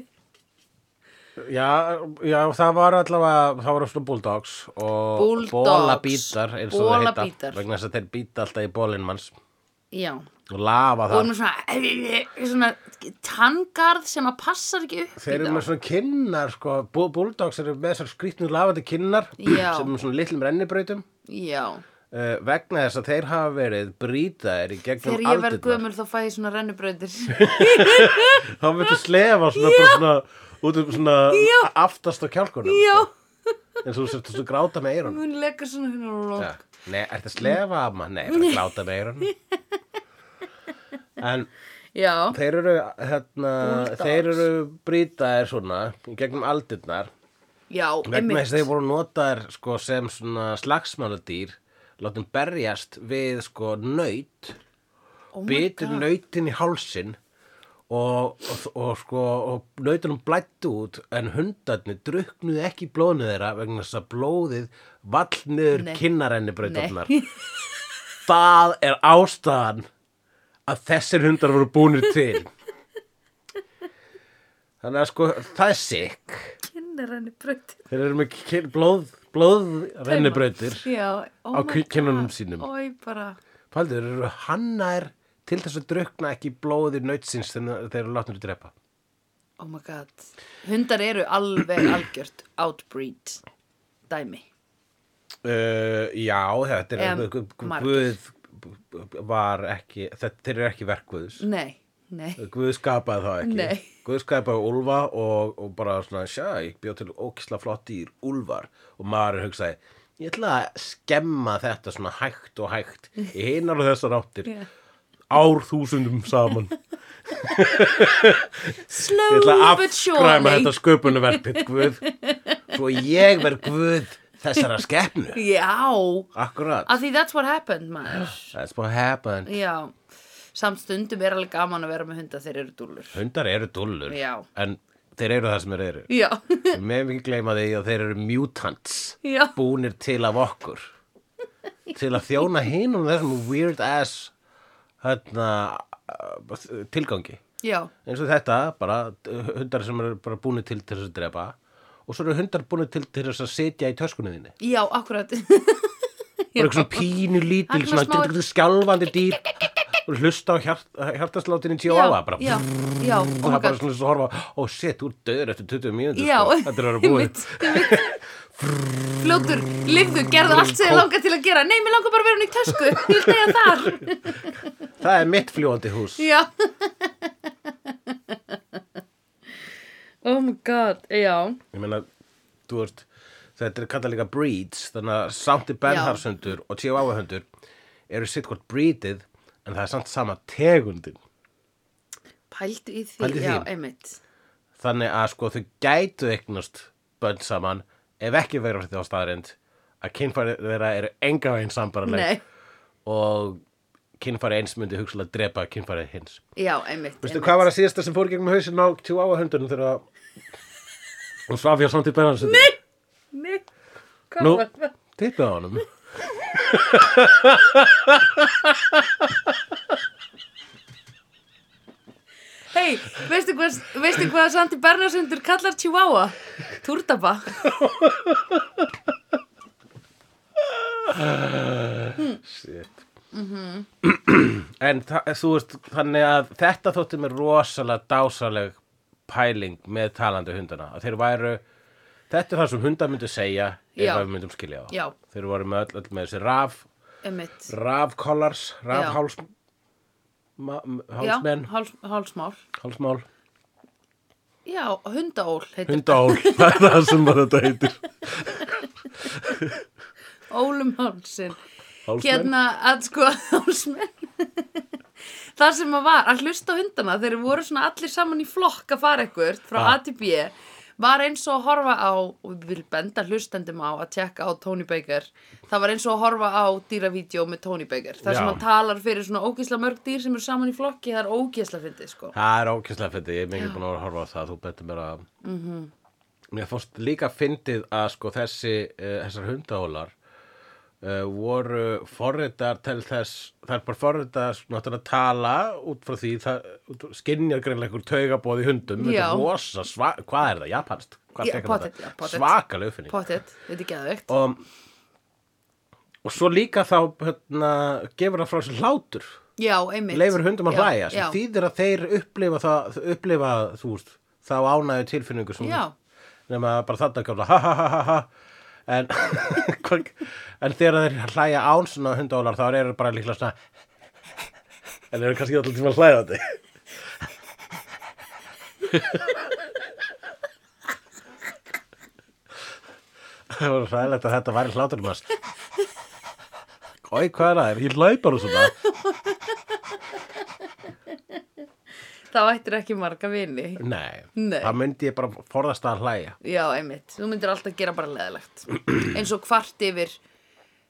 Já, já, það var allavega, það var svona bulldogs og
Bulldogs,
bólabítar eins og það heita,
bolabítar.
vegna þess að þeir býta alltaf í bólinn manns
Já,
og lafa
og
það.
hann er svona, eh, svona tangarð sem að passar ekki upp í
Þeir eru
þá.
með svona kinnar, sko, bulldogs eru með þessar skrýtnu lafandi kinnar
Já.
sem er svona litlum rennibrautum
Já,
uh, vegna þess að þeir hafa verið brýtaðir í gegnum
Þegar ég verð gömul þá fæ ég svona rennubrautir.
(laughs) þá myndu slefa svona, bara svona út um svona
Já.
aftast á kjálkunum
Já,
eins og þú sért að gráta með eyrun
hún leggur svona hérna og
ja. Nei, ertu að slefa amma? Nei, ég er að gráta með eyrun En
Já,
þeir eru hérna,
Bulldogs.
þeir eru brýtaðir svona í gegnum aldirnar
já,
vegna þess að þeir
einmitt.
voru notaðir sko, sem svona slagsmáladýr látum berjast við sko nöyt
Oh my
bitur
God.
nautin í hálsin og, og, og sko og nautunum blættu út en hundarnir druknuðu ekki í blóðinu þeirra vegna þess að blóðið vall niður
Nei.
kinnarenni
(laughs)
brautarnar það er ástæðan að þessir hundar voru búnir til þannig að sko það er sikk
Kinnar henni brautir.
þeir eru með kin, blóð, blóðrenni brautir
Já, oh
á
my
ki-
God.
kinnunum sínum.
Ói, bara,
Paldur, eru hannar til þess að drukna ekki í blóði nautsins þegar þeir eru látnir að drepa?
oh my god. Hundar eru alveg (clears throat) algjört outbreed dæmi.
Uh, já, þetta er
Em,
gu- gu- gu-
margir.
Guð b- b- var ekki, þetta, þeir eru ekki verk Guðs.
Nei, nei.
Guð skapaði það ekki.
Nei.
Guð skapaði úlfa og, og bara svona, sjá, ég bjóð til ókisla flott dýr, úlfar. Og maður hugsaði, ég ætla að skemma þetta svona hægt og hægt í hinar og þessar áttir,
Yeah.
ár þúsundum
(laughs)
saman. Ég ætla
Slowly
að
but
afskræma
surely.
þetta sköpunverfið, Guð. Svo ég verð Guð þessara skepnu.
Já,
Akkurat.
af því that's what happened, maður.
That's what happened.
Já, samt stundum er alveg gaman að vera með hunda þeir eru dúllur.
Hundar eru dullur.
Já.
En þeir eru það sem þeir eru.
Já,
Við meðum ekki gleyma því að þeir eru mutants.
já,
Búnir til af okkur. Til að þjóna hinum þessum weird ass hérna, uh, tilgangi.
já,
eins og þetta, bara uh, hundar sem eru bara búinir til til þess að drepa og svo eru hundar búinir til til þess að setja í töskunni þinni
já, akkurat.
bara eitthvað svona pínu lítil,
Hann svona
svona
smá-
smá... skjálfandi dýr og hlusta á hjart, hjartasláttinu
(laughs)
í
já,
Chihuahua bara,
já, já, oh
það
my
er bara
god.
svona svo að horfa ó, shit, þú er döður eftir 20 mínútur
Já,
sko. þetta er
(laughs)
að vera búið
einmitt, einmitt. Fljótur, lifðu, gerðu allt sem þið langar til að gera. Nei, mér langar bara að vera hún í tösku, ég vil degja þar.
það er mitt fljóandi hús
Já. Oh my god, já,
ég meina, þú veist þetta er kallað líka breeds þannig að samt í
Já.
bernharshundur og Chihuahua hundur eru sitt hvort breedið en það er samt sama tegundin
pældu í því,
Pældu í
já,
því.
einmitt.
þannig að sko þau gætu eignast bönn saman ef ekki verður þetta á staðarind að kynfæri þeirra eru enga veginn sambarleg
Nei,
og kynfæri eins myndi hugsalega drepa kynfæri hins
já, einmitt.
Veistu
einmitt.
hvað var að síðasta sem fór í gegnum hausin á Chihuahua hundunum þegar hún svaf hjá samt í bennansundu? Nei!
Nei, hvað
Nú,
var það?
tippið á honum.
Hei, veistu hvað, veistu hvað Sandi Bernarsundur kallar Chihuahua? Túrdaba.
Shit. Mm-hmm. (clears throat) en þa- þú veist, þannig að þetta þótti mér rosalega dásaleg pæling með talandi hundana. Að þeir væru, þetta er það sem hundar myndu segja ef
Já.
að við myndum skilja þá.
Já.
Þeir voru með öll, öll með þessi raf,
Emmitt.
rafkollars, rafháls, ma- m- hálsmenn,
Já, háls, hálsmál.
hálsmál,
Já, hundaól heitir.
hundál, (laughs) það er það sem þetta heitir.
Ólum hálsin.
Hálsmenn.
Hérna, að sko, (laughs) hálsmenn. Það sem að var, að hlusta á hundana, þeir voru svona allir saman í flokk að fara ekkert frá
Ah.
A til B, var eins og að horfa á, og við viljum benda hlustendum á að tjekka á Tony Baker, það var eins og að horfa á dýravídeó með Tony Baker, þar sem
Já.
hann talar fyrir svona ógisla mörg dýr sem eru saman í flokki, það er ógisla fyndið, sko.
Það er ókesslega fyndið, ég er mikið búin að horfa á það, þú betur mér að...
Mhm.
Mér fórst líka fyndið að sko þessi, uh, þessar hundahólar uh, voru forritar til þess, það er bara forritar náttúrulega að tala út frá því, það út frá- skynjar greinlega einhver taugabóð í hundum, þetta
Já.
er rosa, sva, hvað er það, japanst? Hvað
Já,
fekk hann
pottet,
þetta?
já, pottet.
Svakaleg uppfinning.
Pottet, þetta er geðveikt.
Og, og svo líka þá hérna, gefur það frá sér hlátur
Já, einmitt.
leifur hundum að
Já,
hlæja sem
já.
þýðir að þeir upplifa, það, upplifa þú veist, þá ánægju tilfinningu sem
Já.
nema bara þetta gamla ha ha ha ha ha en, (laughs) hvað- en þegar þeir hlæja án svona hundólar þá eru bara líklega svona en eru kannski alltaf tíma að hlæja þetta (laughs) það var ræðilegt að þetta væri hláturum hans Oi, hvað er það þér? Ég hlæ bara svona
Þá ættir ekki marga vini.
Nei,
Nei.
það myndi ég bara forðast að hlæja
Já, einmitt. Þú myndir alltaf gera bara leðilegt. (clears throat) Eins og kvart yfir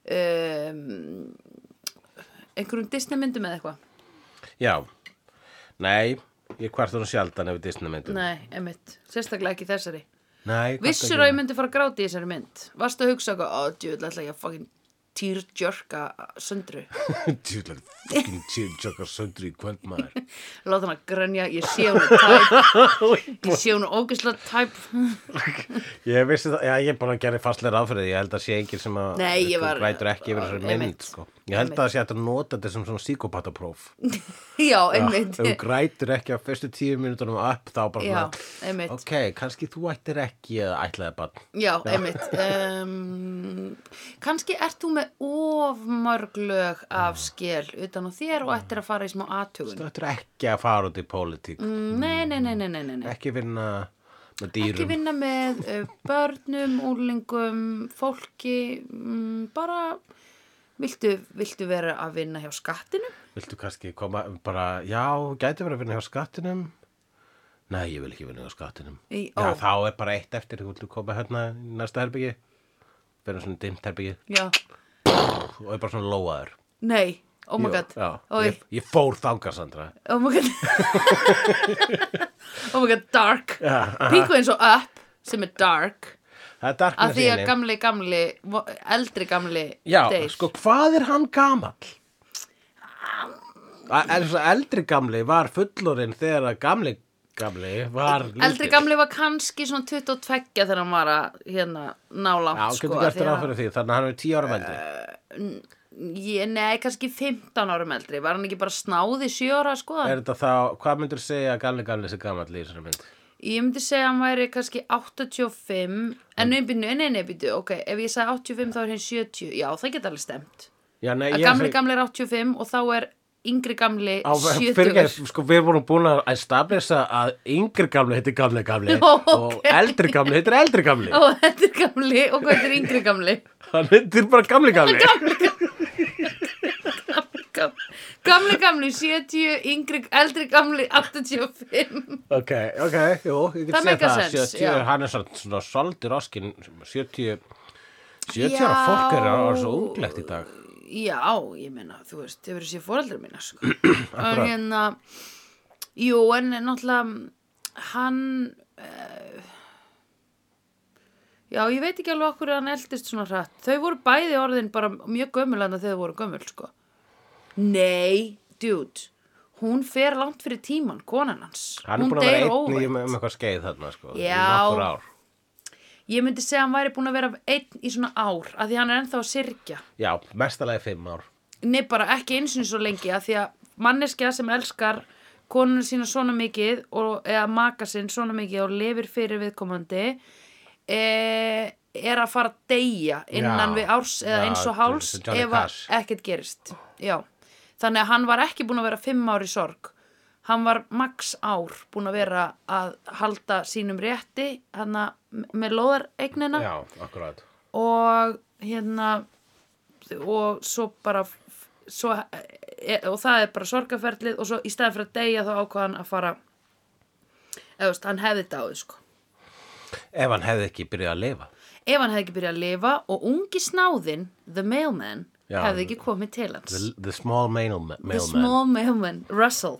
um, einhverjum Disney myndum eða eitthvað.
Mm. Já, nei, ég hvart hún sjaldan ef Disney myndum
Nei, einmitt. Sérstaklega ekki þessari.
nei hvart
Vissir
ekki. (laughs)
að ég myndi fara að gráta í þessari mynd. Varstu að hugsa eitthvað, ó, djúvill, ætla ég að fucking týrjörka söndru.
Djúlar, fucking tjökkar söndur í kvöld maður
Láta hana grönja, ég sé hún er tæp.
(laughs)
Ég sé hún er ógislega tæp. (laughs)
Ég vissi það, já ég bara gerði fastlega ráðfyrir Ég held að sé enginn sem að
Nei, ég
þú
var-
grætur ekki yfir þessari
Einmitt.
mynd sko. Ég held að það sé hægt að nota þetta sem svona psíkopatapróf
Já, (laughs)
Ef
einmitt.
þú grætur ekki á fyrstu tíu mínútunum upp þá bara
Já,
svona,
einmitt.
Ok, kannski þú ættir ekki eða ætlaði bara
Já, einmitt. Um, kannski ert þú með of mörg lög af skél utan á þér og ættir að fara í smá aðtugun.
Þú ættir ekki að fara út í pólitík
Mm. Nei, nei, nei, nei, nei, nei, nei.
Ekki vinna með
Ekki
dýrum
vinna með uh, börnum, úrlingum, fólki, um, bara viltu, viltu vera að vinna hjá skattinu?
Viltu kannski koma bara, já, gæti verið að vinna hjá skattinum? Nei, ég vil ekki vinna hjá skattinum.
Í-
já,
ó.
þá er bara eitt eftir, þú viltu koma hérna í næsta herbyggi? Verður svona dimmt herbyggi
Já,
og er bara svona lóaður.
nei, oh my god,
Já,
oi,
ég, ég fór þangað, Sandra.
oh my god, oh my god, dark,
aha.
píku eins og up sem er dark.
Það er darkness
að því að
í henni.
gamli, gamli, vo- eldri gamli
Já,
deyr.
sko, hvað er hann gamall?
Um.
A- En svo eldri gamli var fullorinn þegar að gamli gamli var lítill.
eldri gamli var kannski svona 22 þegar hann var að hérna nála
Já,
sko,
getur
að
gert
því
ráð
að-
fyrir því, þannig að hann er tíu ára veldri.
ég, nei, kannski 15 árum eldri var hann ekki bara snáði 7 ára sko
(laughs) Er þetta þá, hvað myndur segja að gamli gamli sé gamall í þessari mynd?
ég myndi segja að hann væri kannski 85
Mm.
en nei, byrju, nei, nei, nei, byrju, ok ef ég sagði 85 þá er hinn 70 já, það geta alveg stemt
Já, nei,
að
ég
gamli gamli er 85 og þá er yngri gamli
Á,
70
fyrir ekki, sko, við vorum búin að establisa að yngri gamli heitir gamli
(laughs)
gamli
Ó,
og eldri gamli heitir eldri gamli.
og (laughs) þetta er gamli og hvað er yngri gamli
Hann heitir bara gamli
(laughs)
gamli.
Gam- Gamli, gamli, 70, yngri, eldri, gamli, 85.
Ok, ok, jú, ég get
Það
segja
make
það.
sense,
70,
já.
hann er svona, svona soldi roskinn, 70, 70
Já.
ára fólk er að orða svo unglegt í dag.
Já, ég meina, þú veist, þau verður sér fóreldra mína,
(clears throat)
sko.
Akkurat.
En hérna, jú, en náttúrulega, hann, uh, já, ég veit ekki alveg okkur hann eldist svona hratt. Þau voru bæði orðin bara mjög gömulanda þegar þau voru gömul, sko. Nei, dude, hún fer langt fyrir tíman, konan hans.
Hann er
hún
búin að vera
deyr
einn í
óvænt.
um, um eitthvað skeið þarna, sko, í
Já.
nokkur ár.
Ég myndi segja að hann væri búin að vera einn í svona ár að því hann er ennþá að syrkja.
Já, mestalagi fimm ár.
Nei, bara ekki eins og svo lengi að því að manneskja sem elskar konuna sína svona mikið og, eða maka sinn svona mikið og lifir fyrir viðkomandi e, er að fara að deyja innan
Já.
við árs eða
Já,
eins og háls
þetta er Johnny
ef að
Cash.
ekkert gerist. Já, þannig að hann var ekki búin að vera fimm ár í sorg. Hann var max ár búin að vera að halda sínum rétti hana, með lóðareignina
Já, akkurat.
og hérna og svo bara svo, e, og það er bara sorgaferlið og svo í staðan fyrir að deyja þá ákvað hann að fara eða þú veist, hann hefði dáið sko
Ef hann hefði ekki byrjað að lifa.
ef hann hefði ekki byrjað að lifa og ungi snáðinn, the mailman
Já,
hefði ekki komið til hans
The, the small mailman.
the small mailman, Russell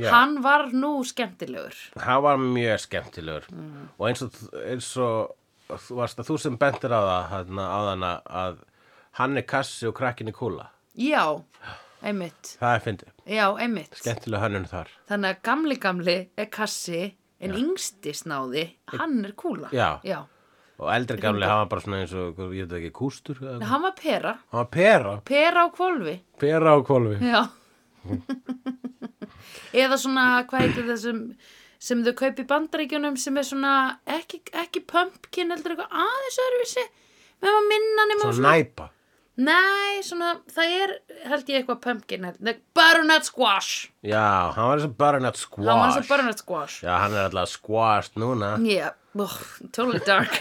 Já.
hann var nú skemmtilegur
hann var mjög skemmtilegur og eins og, eins og þú, varst að þú sem bentir á það hana, á þana að hann er kassi og krakkin er kúla
já, einmitt
það er fyndið,
já, einmitt
skemmtileg hönnun þar
þannig að gamli gamli er kassi en yngsti snáði, hann er kúla
Já.
já.
og eldri gamli hann var bara svona eins og ég veit ekki kústur
Nei,
eða eitthvað.
hann var pera,
hann var pera,
pera á kvolfi
pera á kólfi
Já (laughs) Eða svona, hvað heitir þessum sem þau kaup í bandaríkjunum sem er svona ekki, ekki pumpkin heldur eitthvað aðeins öðruvísi við hefum að minna nema á
Svo næpa
Nei, svona, það er, held ég eitthvað pumpkin Nei, butternut squash
Já, hann var eins og butternut squash
Það var eins og butternut squash
Já, hann er alltaf squashed núna
Yeah, oh, totally dark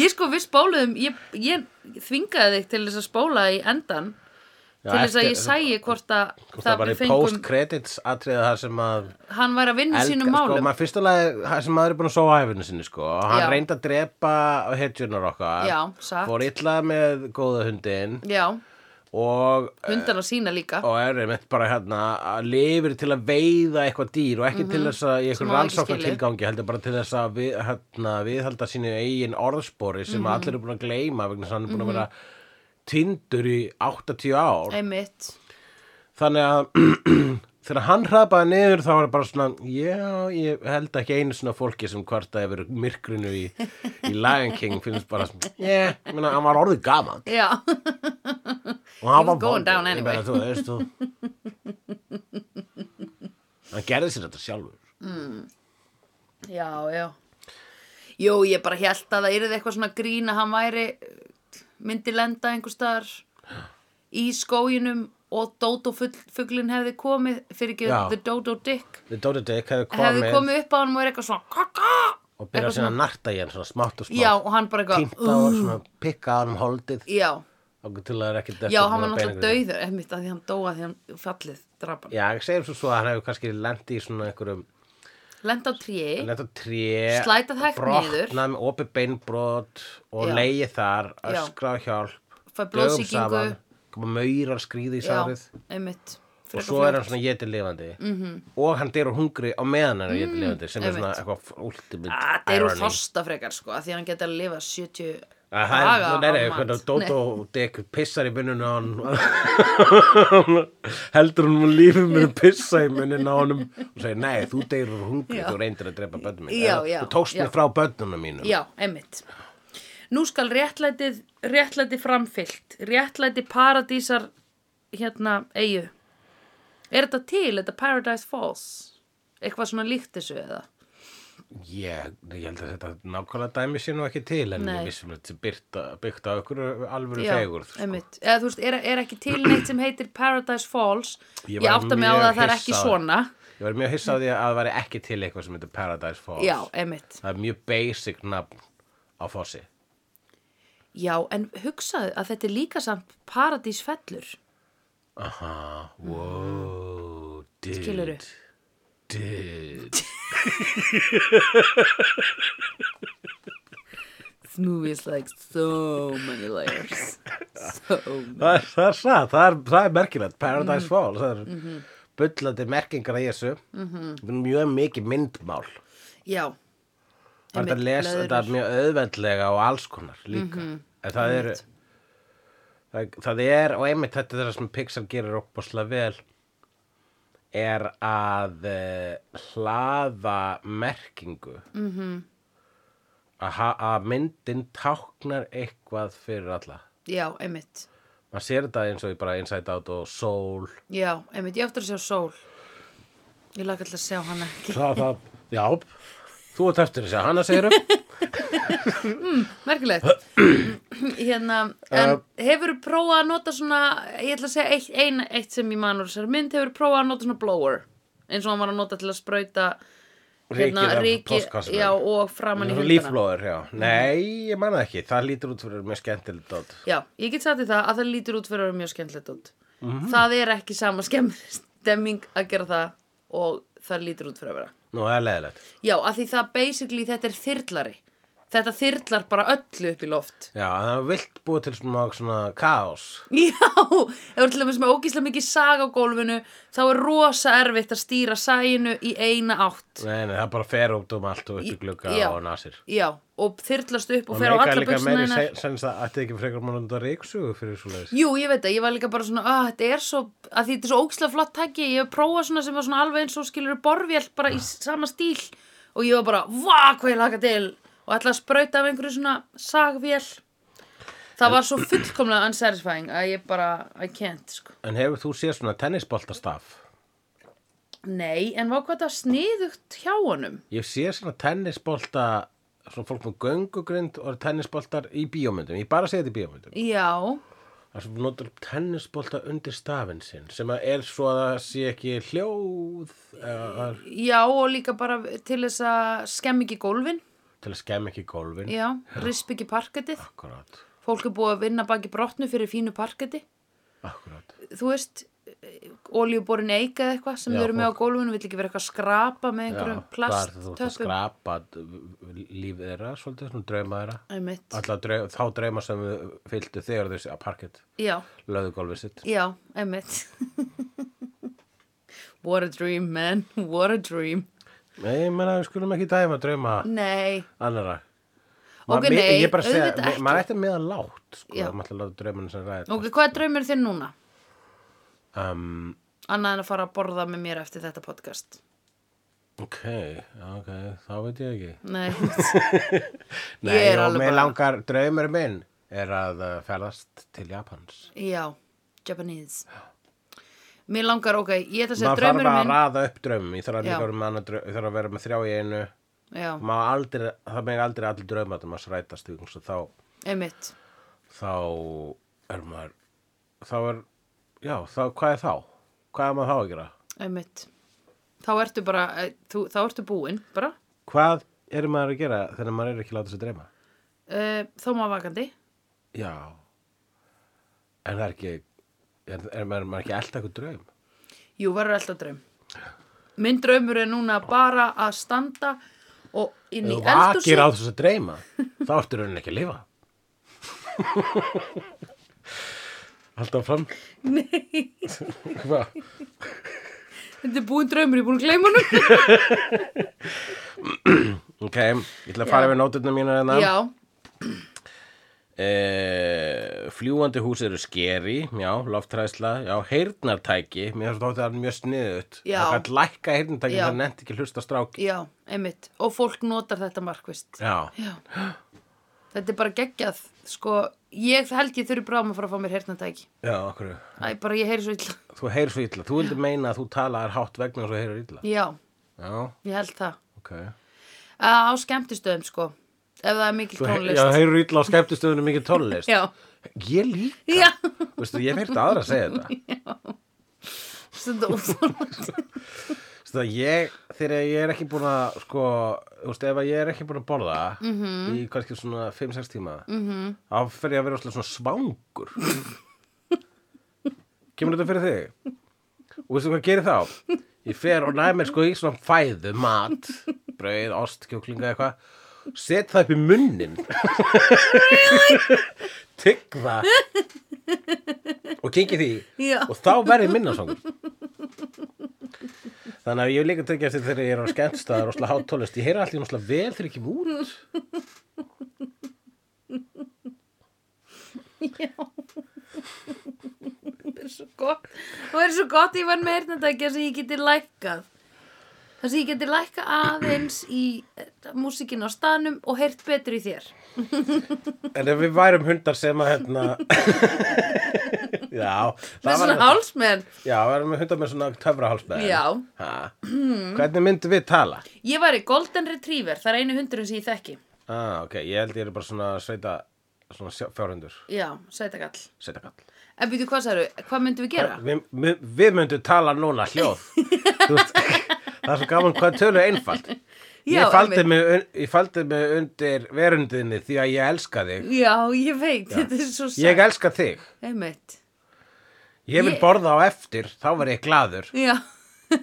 Ég sko, við spóluðum ég, ég þvingaði þig til þess að spóla í endan
Já,
til þess að
eftir-
ég sæi hvort að
Hvort það
það
var í
við fengum,
post-credits atriða það sem að
hann væri að vinna í sínum
sko,
málum
maður fyrsta lagi það sem maður er búin að sóa æfinu sinni sko og hann
Já.
reyndi að drepa hetjunar okkar
Já, satt.
fór illa með góða hundin
Já,
og,
hundana sína líka
og er einmitt bara hérna að lifir til að veiða eitthvað dýr og ekki til þess að í
Mhm. Sem
einhver
hann ekki
rannsóknar tilgangi heldur bara til þess að við, hérna, viðhalda sínu eigin orðspori sem
Mhm.
allir eru búin að gleyma vegna þess að hann er búin að vera tindur í 80 ár
Einmitt
þannig að (clears throat) þegar hann hrapaði niður þá var bara svona já, ég held ekki einu svona fólki sem kvartaði yfir myrkrinu í, í Lion King finnst bara svona, yeah, menna, hann var orðið gaman
Já,
og
He was
hann var
going
vondur.
down
Ég
anyway.
bara, þú veist þú hann gerði sér þetta sjálfur
já, já Jú, ég bara held að það yrði eitthvað svona grín að hann væri myndi lenda einhver staðar í skóginum og Dodo-fuglin hefði komið fyrir ekki
Já.
The Dodo Dick
The Dota Dick hefði
hefði
komið
komið upp á hann og er eitthvað svona kaka
og byrjaði síðan að narta í hann svona smátt og smátt
Já, og hann bara eitthvað
pínta og svona pikka á hann um holdið
Já,
og til að það er ekki
já, hann var náttúrulega dauður einmitt að því hann dóa því hann fallið drapan.
já, ég segir svo svo að hann hefur kannski lendi í svona einhverjum
Lenda á tríi,
Lenda á tré,
Slætað hægt niður.
brotnað með opið beinbrot og
Já.
leið þar,
Já.
öskra á hjálp,
fæ
dögum
blóðsýkingu,
saman, koma maurar skrýði í
já,
sárið
einmitt.
og
Frekar
svo
fljótt. Mhm.
er hann svona getið lifandi -hmm. og hann deyr úr hungri á meðan hann er getið lifandi sem er svona
Mm, einmitt.
eitthvað ultimate
Ah, Það eru
irony.
þorsta frekar sko, af því að hann geti að lifa 70
Að Það er,
daga
það er
á
eitthvað að
mat.
Dótó Dick pissar í munnun á hann (laughs) heldur hann um lífið mér að pissa í munnun á hann og segir, nei, þú deyrur hungri,
Já.
þú reyndir að drepa bönnum mín
Já,
Eða,
já,
þú tókst
já.
mér frá bönnunum mínum
Nei. Já, einmitt. Nú skal réttlætið, réttlæti framfyllt, réttlæti paradísar hérna eigu. Er þetta til, þetta Paradise Falls? Eitthvað svona líkt þessu eða?
Ég, ég held að þetta nákvæmlega dæmi sé nú ekki til en
Nei.
ég vissum að þetta er byrta, byrta á ykkur alvöru
Já,
fegurð. sko.
einmitt. Eða þú veist, er, er ekki til neitt sem heitir Paradise Falls
Ég
Ég,
var
átta mig á
mjög
það að það er
hissa
ekki
á því.
svona
Ég var mjög hissa á því að það væri ekki til eitthvað sem heitir Paradise Falls.
Já, einmitt
Það er mjög basic nafn á fossi.
Já, en hugsaðu að þetta er líka samt paradísfellur
Aha, wow, dude.
Skilurðu?
Dude.
This movie is like so many layers So many
Það er, það er satt, það er, það er merkilegt, Paradise
Mhm.
Falls, það er mm bullandi merkingar í þessu,
Mhm.
mjög mikið myndmál.
Já,
Það er hægt að
Einmitt,
lesa
blöðrur. Mhm.
þetta mjög auðvendlega og alls konar líka. En það er, það, það er, og einmitt þetta er það sem Pixar gerir opbáslega vel, er að eh, hlaða merkingu. Mm
Mhm.
að, ha- að myndin táknar eitthvað fyrir alla.
já, einmitt
Maður sér þetta eins og í bara Inside Out og Soul.
Já, einmitt, ég á eftir að sjá sól Ég laka alltaf að sjá hana ekki
Það, það, já, þú ert eftir þessi að hana
(laughs)
segirum. (clears throat)
Merkilegt Hérna, en uh, hefur prófað að nota svona Ég ætla að segja eitt, ein, eitt sem ég man úr þessari mynd Hefur prófað að nota svona blower Eins og hann var að nota til að sprauta hérna,
Rykið af postkassum.
Já, og framan í hundana
Lífblóður, já. Nei, ég manna ekki. Það lítur út fyrir mjög skemmtilegt dót.
Já, ég get sagt því það að það lítur út fyrir að vera mjög skemmtilegt út
Mhm.
Það er ekki sama skemmtilegt stemming að gera það Og það lítur út fyrir að vera
Nú, það er leðilegt.
Já, af því það basically þetta er þyrlari Þetta þyrlar bara öllu upp í loft
Já, það er vilt búið til svona, svona kaos.
Já, (laughs) ef við til dæmis með ógíslega mikið sag á gólfinu þá er rosa erfitt að stýra sæinu í eina átt.
Nei, nei, það bara fer út um allt og upp í glugga
Já.
og nasir.
Já, og þyrlast upp og, fer á alla buksna
meiri
hennar.
se- sens að ætti ekki frekar mann undan reyksugu fyrir svo leiðis.
Jú, ég veit það, ég var líka bara svona, að þetta er svo, að því þetta er svo ógíslega flott tæki, ég hef prófað svona sem var svona alveg eins og skilur borvél bara í sama stíl og ég var bara, vá, hvað ég laka til og ætla að sprauta af einhverju svona sagvél. Það var svo fullkomlega unsatisfying að ég bara, I can't, sko.
En hefur þú séð svona tennisboltastaf?
Nei, en vá hvað það var sniðugt hjá honum.
Ég sé svona tennisbolta svona fólk með göngugrind og tennisboltar í bíómyndum, ég bara segi þetta í bíómyndum
Já,
það sem notar tennisbolta undir stafinn sinn sem að er svo að það sé ekki hljóð eða,
já og líka bara til þess að skemm ekki gólfin,
til að skemmi ekki gólfin
já, risp ekki parkettið,
akkurát,
fólk er búið að vinna baki brotnu fyrir fínu parketti,
akkurát
þú veist, olíuborin eik eða eitthvað sem
Já,
þau eru með á
fólk-
gólfinu, vill ekki vera eitthvað að skrapa með einhverjum
þú ert að
plasttöpum.
skrapa lífið þeirra, svolítið svona drauma þeirra
Einmitt,
Alla draum, þá drauma sem við fylgdu þegar þessi að parkett
já,
löðu gólfið sitt
já, einmitt. (laughs) What a dream, man, what a dream.
Nei, ég meina, við skulum ekki dæma drauma
Nei,
annara
Ok,
Ma- mér-
nei,
ég bara segja,
auðvitað
ma-
ekki.
maður ætti að meða lágt sko,
Já.
maður ætti að láta drauminu sem ræði
ok, hvað er draumur þinn núna?
um,
Annað en að fara að borða með mér eftir þetta podcast.
ok, ok, þá veit ég ekki
Nei,
nei,
Ég er
og
alveg
mig
bara-
langar, draumur minn er að uh, ferðast til Japans
já, Japanese. Mér langar, ok, ég ætla að segja
maður þarf
draumur
bara að
minn.
ræða upp draumum ég þarf að,
Já.
líka vera með annað draum- ég þarf að vera með þrjá í einu
Já,
maður aldrei, það með aldrei allir drauma þannig að maður rætast ykkur svo þá,
einmitt.
þá er maður þá er, já, þá, hvað er þá? hvað er maður þá að gera?
Einmitt. Þá ertu bara, eh, þú, þá ertu búinn, bara.
hvað er maður að gera þegar maður er ekki að láta sig dreyma?
Uh, þá maður vakandi.
já en það er ekki er, er maður, maður ekki elda eitthvað draum?
Jú, verður alltaf draum. Minn draumur er núna bara að standa og inn í
ef þú
eldhúsi.
vakir á þess að
(laughs)
dreyma þá ertu raunin ekki að lifa alltaf fram
Nei,
(laughs) hvað?
þetta er búinn draumur, ég er búinn að gleyma hann.
ok, ég ætla að fara yfir nótuna mína hérna
Já,
Eh, fljúandi hús eru skeri, já, loftræðsla, já, heyrnartæki, mér finnst þótti að það er mjög sniðut.
Já.
Það gætt lækka heyrnartæki,
Já.
það nefnt ekki að hlusta á stráki.
já, einmitt. Og fólk notar þetta markvist.
Já,
Já. Þetta er bara geggjað, sko. Ég held ég þurfi bráðum að fara að fá mér heyrnatæki.
já, okkur.
Æ, bara ég heyri svo illa.
Þú heyrir svo illa, þú vildi meina að þú talaðar hátt vegna og svo heyrir illa.
Já,
Já,
ég held það.
ok.
Á skemmtistöðum, sko. Ef það er mikil
Þú he
tónlist.
já, heyrir illa á skemmtistöðunum mikið tónlist.
Já,
Ég líka.
já,
Veistu, ég hef heyrt aðra að segja þetta.
stundum
(laughs)
óþólandi.
Svo að ég, þegar ég er ekki búin að, sko, þú veist, ef að ég er ekki búin að borða -hmm. í kannski svona 5-6 tíma, -hmm. þá fer ég að vera svona svangur. Kemur þetta fyrir þig? Og veistu hvað gerir þá? Ég fer og næði mér sko í svona fæðu, mat, brauð, ost, kjóklinga eitthvað, set það upp í munnin. Tygg það. Og gengi því.
Já.
Og þá verði minna svangur. Þannig að ég vil líka tekja eftir þegar ég er á skemmtstaðar og slá hátólest, ég heyra allir náttúrulega vel þegar ég kem út.
Það er svo gott. Það er svo gott ég var með heyrnatæki þess að ég geti lækkað. Þess að ég geti lækkað aðeins í músikinu á staðnum og heyrt betur í þér.
En ef við værum hundar sem að hérna... (laughs) já, það
Með
var...
svona hálsmenn.
Já, við værum hundar með svona töfrahálsbæðin.
Já.
Ha. Hvernig myndum við tala?
Ég var í Golden Retriever, það er einu hundurinn sem ég þekki.
Ah, ok, ég held ég er bara svona sveita, svona sjá- fjárhundur,
Já, sætakall.
sveita kall.
En byrju, hvað særu? Hvað myndum við gera?
Við, við, við myndum tala núna
(laughs)
hljóð. Þú veist, það er svo gaman hvað tölu er einfalt.
Já,
ég, faldi
einmitt.
mig, un- ég faldi mig undir verundinni því að ég elska þig.
Já, ég veit, þetta er svo
Ég
sætt.
elska þig.
Einmitt.
Ég vil
Ég-
borða á eftir, þá verð ég gladur.
Já. (laughs)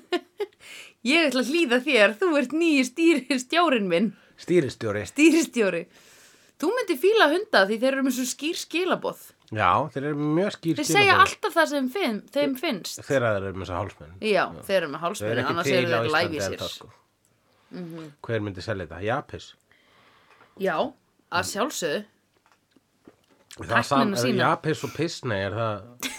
ég ætla að hlýða þér, þú ert nýju stýri stjórin minn,
Stýristjóri.
stýristjóri. Þú myndir fíla hunda því þeir eru með svo skýr skilaboð.
Já, þeir eru mjög skýr
Þeir segja alltaf það sem finn, þeim finnst.
Þeir eru með þessa hálsmenn.
Já, þeir eru með
Þeir eru
hálsmenn,
ekki
annars
til
eru
á
þeir
Íslandi
læfið
en
sér. Mhm.
það sko. Hver myndi selja þetta? Japis.
Já,
Mm.
að sjálfsögðu.
Það er sam-
Tæknina sína.
Japis og Pisnei er
(laughs)
það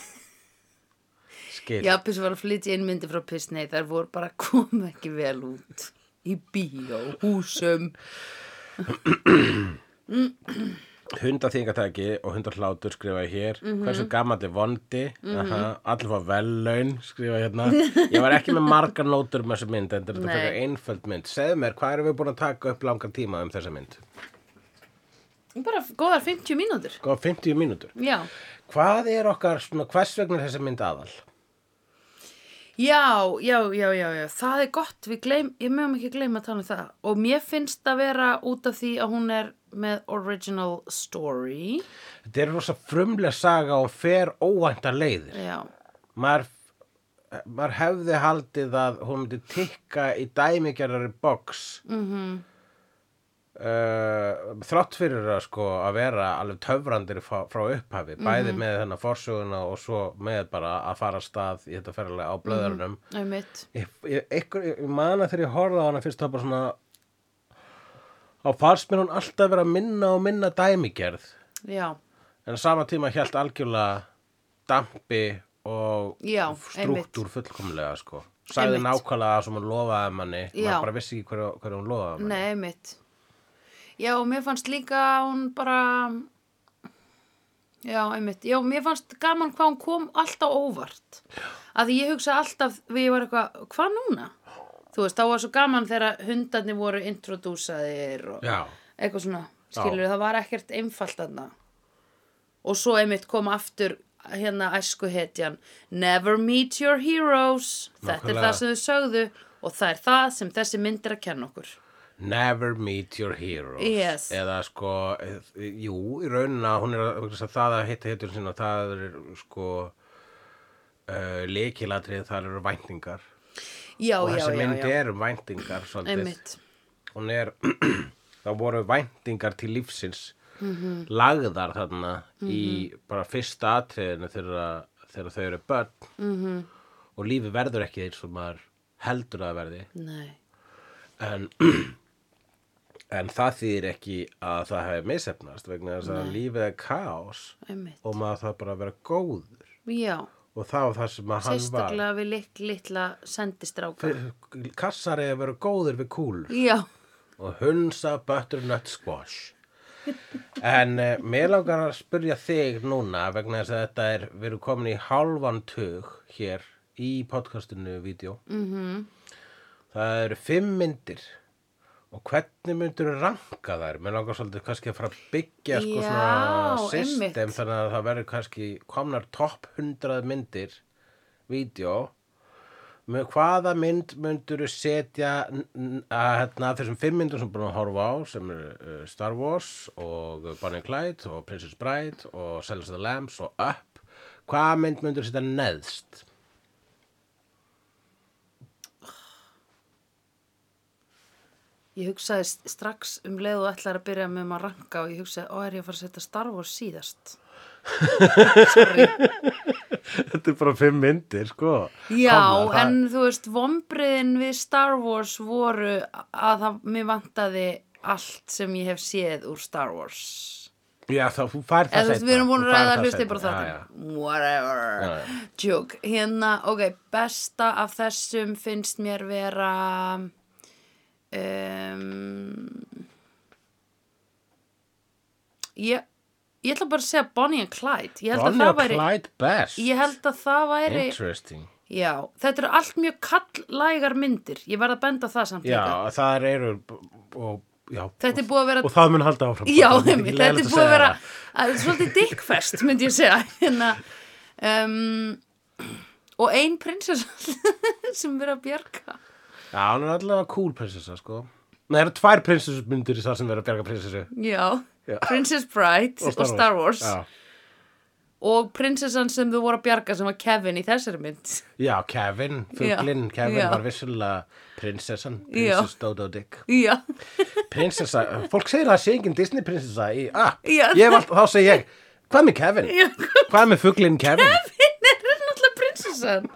skil.
Já, Piss var að flytja inn myndi frá Piss, nei, þær voru bara kom ekki vel út í bíó, húsum.
Hundaþingatæki og hundahlátur skrifa ég hér. Hversu gamall er vondi? Aha, Allir fá vellaun skrifa ég hérna. Ég var ekki með margar nótur með þessa mynd en þetta er
Nei.
fyrir einföld mynd. Segðu mér, hvað erum við búin að taka upp langan tíma um þessa mynd?
Bara góðar 50 mínútur.
Góða 50 Sko, mínútur.
Já.
Hvað er okkar, svona, hvers vegna er þessi mynd aðal?
Já, já, já, já, já. Það er gott. Við gleym, ég mögum ekki gleyma að tala um það. Og mér finnst að vera út af því að hún er með original story.
Þetta er rosa frumlega saga og fer óvæntar leiðir.
Já.
Maður, maður hefði haldið að hún myndi tikka í dæmigerðari box. Mm þrátt fyrir að sko að vera alveg töfrandir frá, frá upphafi. Bæði með þennan forsöguna og svo með bara að fara af stað í þetta ferðarlega á blöðarunum.
Einmitt.
ég, ég, ykkur, ég man að þegar ég horfði á hana fyrst þá bara svona á fannst mér hún alltaf vera minna og minna dæmigerð
Já.
en á sama tíma hjælt algjörlega dampi og
Já,
struktúr fullkomlega sko sagði
Einmitt.
nákvæmlega það sem hún lofaði manni
Já.
maður bara vissi ekki hverju, hverju hún lofaði manni
Nei, einmitt. Já, og mér fannst líka að hún bara... Já, einmitt. Já, mér fannst gaman hvað hún kom alltaf óvart. Að því ég hugsa alltaf, við ég var eitthvað, hvað núna? Þú veist, þá var svo gaman þegar hundarnir voru introdúsaðir og
Já,
eitthvað svona, skilur það var ekkert einfalt þarna. Og svo einmitt kom aftur hérna æsku hetjan, never meet your heroes. Þetta er
Nákvæmlega.
það sem þau sögðu og það er það sem þessi mynd er að kenna okkur.
never meet your heroes
Yes.
eða sko, eh, jú, í raunina hún er að, vegna þess að það að hitta hittur sinna það er sko uh, leikilatrið, það eru væntingar
já,
og þessi
já,
mynd
já, já.
er um væntingar svolítið.
einmitt
hún er (clears throat) það voru væntingar til lífsins lagðar þarna í bara fyrsta atriðinu þegar, þegar þau eru börn -hmm. og lífi verður ekki eins og maður heldur að það verði
nei,
en, en það þýðir ekki að það hefði misefnast vegna þess að lífið er kaos
einmitt,
og maður þarf bara að vera góður
já
og það var það sem að hann var
sérstaklega við lit, litla sendistráka
kassar er að vera góður við kúlur
já,
og hunsa butternut squash en uh, mér langar að spyrja þig núna vegna þess að þetta er við erum komin í hálfan tug hér í podcastinu vídeo mm
Mhm.
-hmm. það eru fimm myndir og hvernig myndir ranka þær mér langar svolítið kannski að fara að byggja sko,
Já,
svona system
einmitt.
þannig að það verður kannski komnar topp 100 myndir vídeo Með hvaða mynd myndur þú setja n- n- að hérna, af þessum fimm myndum sem búin að horfa á sem eru uh, Star Wars og Bonnie and Clyde og Princess Bride og Silence of the Lambs og Up hvaða mynd myndur þú setja neðst?
ég hugsaði s- strax um leið og ætlar að byrja með um að ranka og ég hugsaði, ó er ég að fara að setja Star Wars síðast
Þetta er bara fimm myndir sko
já, en þú veist, vombriðin við Star Wars voru að það, mér vantaði allt sem ég hef séð úr Star Wars
Já þá þú fær það
eða þú veist, við erum búin að ræða hlusti bara
það
þáttum whatever
Já,
Joke, hérna, ok, besta af þessum finnst mér vera um, ég, ég ætla bara að segja Bonnie and Clyde ég held
Bonnie
að það
and
væri
Clyde best
ég held að það væri
Interesting
já, þetta eru allt mjög kallægar myndir ég verð að benda á það samt líka.
Já það eru og, já,
þetta er búið að vera
og það mun halda áfram (laughs)
Já,
Það er
einmitt,
ekki
þetta
leiðilegt
er búið að
segja
vera
það.
að, svolítið dickfest, (laughs) myndi ég segja hérna, um, og ein prinsess (laughs) sem verið að bjarga
Já, hún er allavega cool prinsessa, sko. Nei, það eru tvær prinsessmyndir í það sem verður að bjarga prinsessu.
Já,
Já.
Princess Bride og Star, Wars,
Já.
og prinsessan sem þau voru að bjarga sem var Kevin í þessari mynd (laughs)
Já, Kevin, fuglinn,
Já,
Kevin
já.
var vissulega prinsessan,
Já.
prinsess Dodo Dick.
Já,
Prinsessa, fólk segir að það sé engin Disney prinsessa í app.
Já.
Ég hef alltaf, þá segi ég, hvað með Kevin?
Já.
Hvað með fuglinn Kevin?
hinn er náttúrulega prinsessan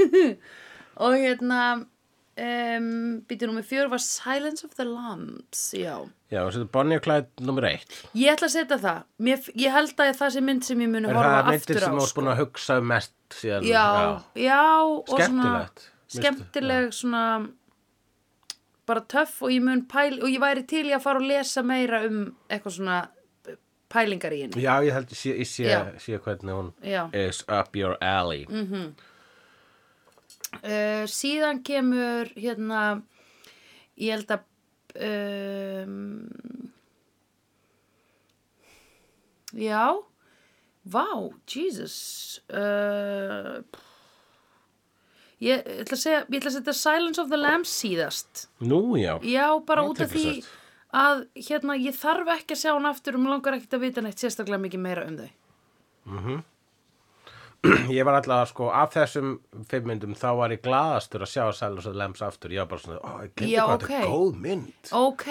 (laughs) og hérna um, býtur nummer fjör var Silence of the Lambs Já,
Já, og þetta er Bonnie og Clyde nummer eitt.
ég ætla að setja það Mér, ég held að það sé mynd sem ég muni
Er það
horfa
myndir
aftur á
sem þú ert
sko.
búin að hugsa um mest síðan?
já, já og
Skemmtilegt.
svona skemmtileg svona bara töff og ég mun pæl og ég væri til í að fara og lesa meira um eitthvað svona eh, pælingar í henni
Já, ég held, ég sé, ég sé,
Já.
sé hvernig hún
Já. Mm.
is up your alley.
uh, síðan kemur hérna ehm, ég held að um, Já, vá, Jesus uh, Ég ætla að segja, ég ætla að setja Silence of the Lambs síðast
Nú, já.
Já, bara
Þetta
út
er
af því
interessant.
að hérna, ég þarf ekki að sjá hann aftur um langar ekkert að vita neitt sérstaklega mikið meira um þau
Ég var alltaf, sko, af þessum fimm myndum, þá var ég glaðastur að sjá Silence of the Lambs aftur. Ég var bara svona, ó, ég glemdi
Já,
hvað þetta
ok.
er góð mynd.
Ok,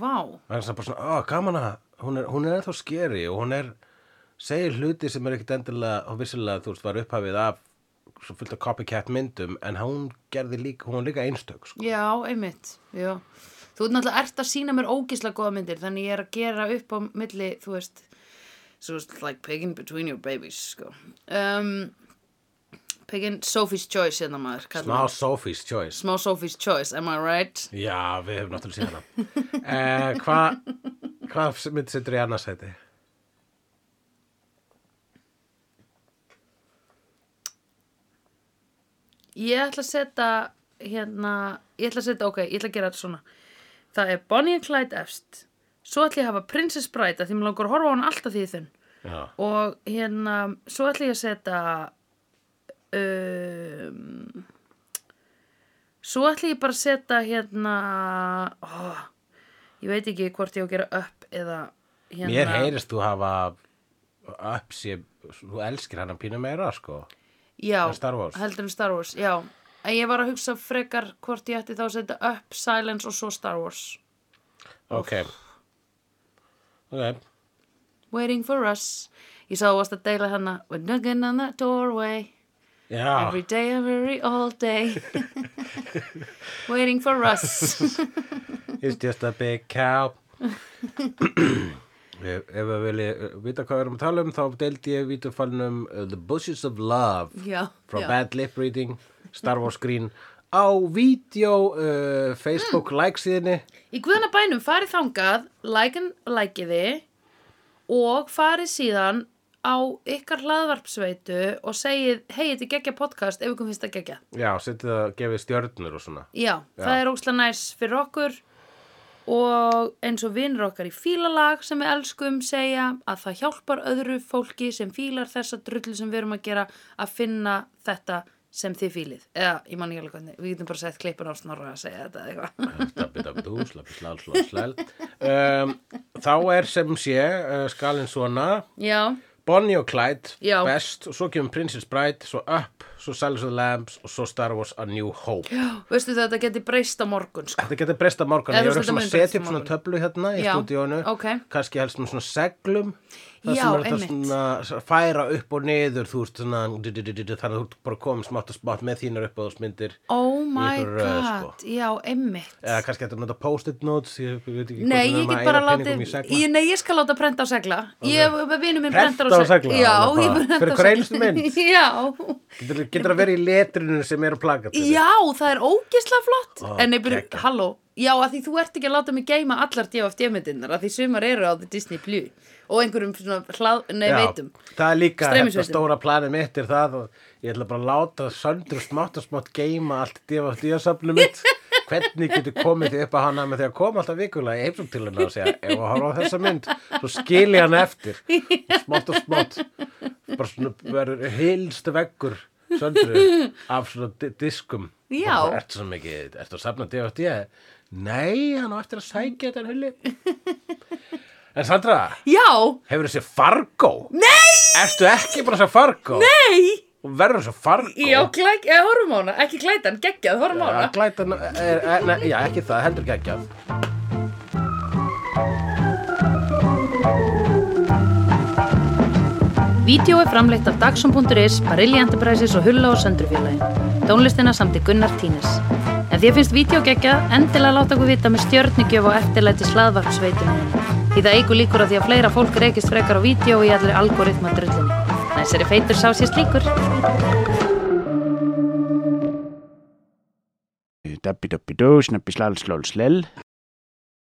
vá
Það er svona bara svona, ó, gaman að, hún er, hún er ennþá skeri og hún er, segir hluti sem er ekkit endilega, og vissilega, þú veist, var upphafið af svo fullt af copycat myndum, en hún gerði líka, hún var líka einstök, sko.
Já, einmitt, já. Þú ert náttúrulega ert að sína mér ógislega góða myndir, þannig ég er að gera upp á milli, þú veist, so it's like picking between your babies, sko. Um, picking Sophie's Choice, hérna maður.
Smá
kallar maður.
Sophie's Choice.
Smá Sophie's Choice, am I right?
Já, við höfum náttúrulega séð hana. (laughs) eh, Hvað hva mynd setur í annars hætti?
Ég ætla að setja, hérna, ég ætla að setja, ok, ég ætla að gera þetta svona. Það er Bonnie and Clyde efst, svo ætla ég að hafa Princess Bride, af því mér langar að horfa á hann alltaf því þunn.
Já.
Og hérna, svo ætla ég að setja um, Svo ætla ég bara að setja hérna ó, Ég veit ekki hvort ég á að gera upp eða hérna
Mér heyrist þú hafa upp sé, þú elskir hana pínu meira, sko.
Já,
Star Wars.
heldur en Star Wars, já En ég var að hugsa frekar hvort ég ætti þá að setja upp Silence og svo Star Wars
Ok. Ok.
Waiting for us Ég sá þú varst að deila hana We're knocking on that doorway
Já,
Every day, every all
(laughs)
day (laughs) Waiting for us
it's just a big
(coughs)
cow. Ef ef við viljið vita hvað við erum að tala um, þá deildi ég vítufalnum uh, The Bushes of Love
Já,
frá
já.
Bad Lip Reading, Star Wars Green á vídeo uh, Facebook
Mm.
like síðinni.
Í guðana bænum farið þangað, lækin, lækiði og farið síðan á ykkar hlaðvarpsveitu og segið, hei, þetta er geggja podcast ef ykkur finnst það geggja.
Já, setið að gefið stjörnur og svona.
Já, það er óslega næs fyrir okkur og eins og vinnur okkar í fílalag sem við elskum segja að það hjálpar öðru fólki sem fílar þessa drullu sem við erum að gera að finna þetta sem þið fílið. Eða, ég man ekki alveg hvernig, við getum bara sett klippun á snorra að segja þetta eða eitthvað. (laughs)
Dabbi dabbi dú, slappi slal, slal, slal. Um, þá er sem sé uh, skalinn svona,
Já,
Bonnie og Clyde,
Já.
best, svo kemur Princess Bride, svo Up, svo Silence of the Lambs og svo Star Wars A New Hope.
já, veistu þetta geti breyst á morgun, sko.
Þetta getur breyst að morgun,
Eða þú
ég
veist, þetta
er ekki að
mun breyst
setja
á
upp svona
morgun.
töflu hérna í
Já,
stúdíónu,
ókei.
kannski helst með svona seglum, það
Já,
sem er þetta
einmitt.
svona s- færa upp og niður, þú veist svona, du- du- du- du- du- þannig að þú ert bara komið smátt og smátt með þínar uppáðsmyndir,
Oh my
einhverju röð, sko.
god, já, emmitt.
eða kannski hættu að nota post-it notes, ég veit ekki
Nei, ég
hvort við erum að
get bara
eyða
látið,
peningum í segla.
ég, nei, ég skal láta prenta á segla. Ég hef vinur minn
Prenta
prentar
á segla,
Já,
alveg
ég
bara,
prenta á segla.
fyrir hverja einustu mynd.
(laughs) Já,
Getur, getur að vera í letrinu sem er á plakatinu.
já, það er ógislega flott.
Ó,
en ég byrju,
geggjað.
halló, já, að því þú ert ekki að láta mig geima allar DFD-myndirnar, að því sumar eru á The Disney Blue og einhverjum svona hlað, nei,
Já,
veitum.
það er líka þetta
Streymisveitum.
stóra planið mitt er það og ég ætla bara að láta söndur smátt og smátt geima allt divast í að safnu
(laughs)
mitt hvernig getur komið því upp að hana með því að koma alltaf vikulega í heimsum til hennar og segja ef að horfa á þessa mynd, svo skilja hann eftir smátt og smátt bara svona verður hilst veggur söndru af svona di- diskum
Já.
Og bara, ertu svo mikið, ertu að safna divast í að nei, hann á eftir að sækja þetta hulli
(laughs)
en Sandra
Já,
Hefur þessi Fargo? Nei! Ertu ekki bara þessi Fargo?
nei,
Hún verður þessi Fargo?
já, glæk, eða horfum á hana, ekki klætan, geggjað, horfum á
Já,
hana.
glætan, er, er, ne, já, ekki það, heldur ekki ekki að.
Vídeó er framleitt af Dagsum.is, Barilli Enterprises og Hulla og Söndrufjörlægin. Tónlistina samt í Gunnar Tínes. Ef þér finnst vídeo geggja, endilega láta okkur vita með stjörnigjöf og eftirlæti slaðvarpsveitunum. Því það eigur líkur að því að fleira fólk reykist frekar á vídeo í allir algoritma drullunni. Næsari feitur sá sér slíkur.
Dabbi dabbi dó, snabbi slal slól slell.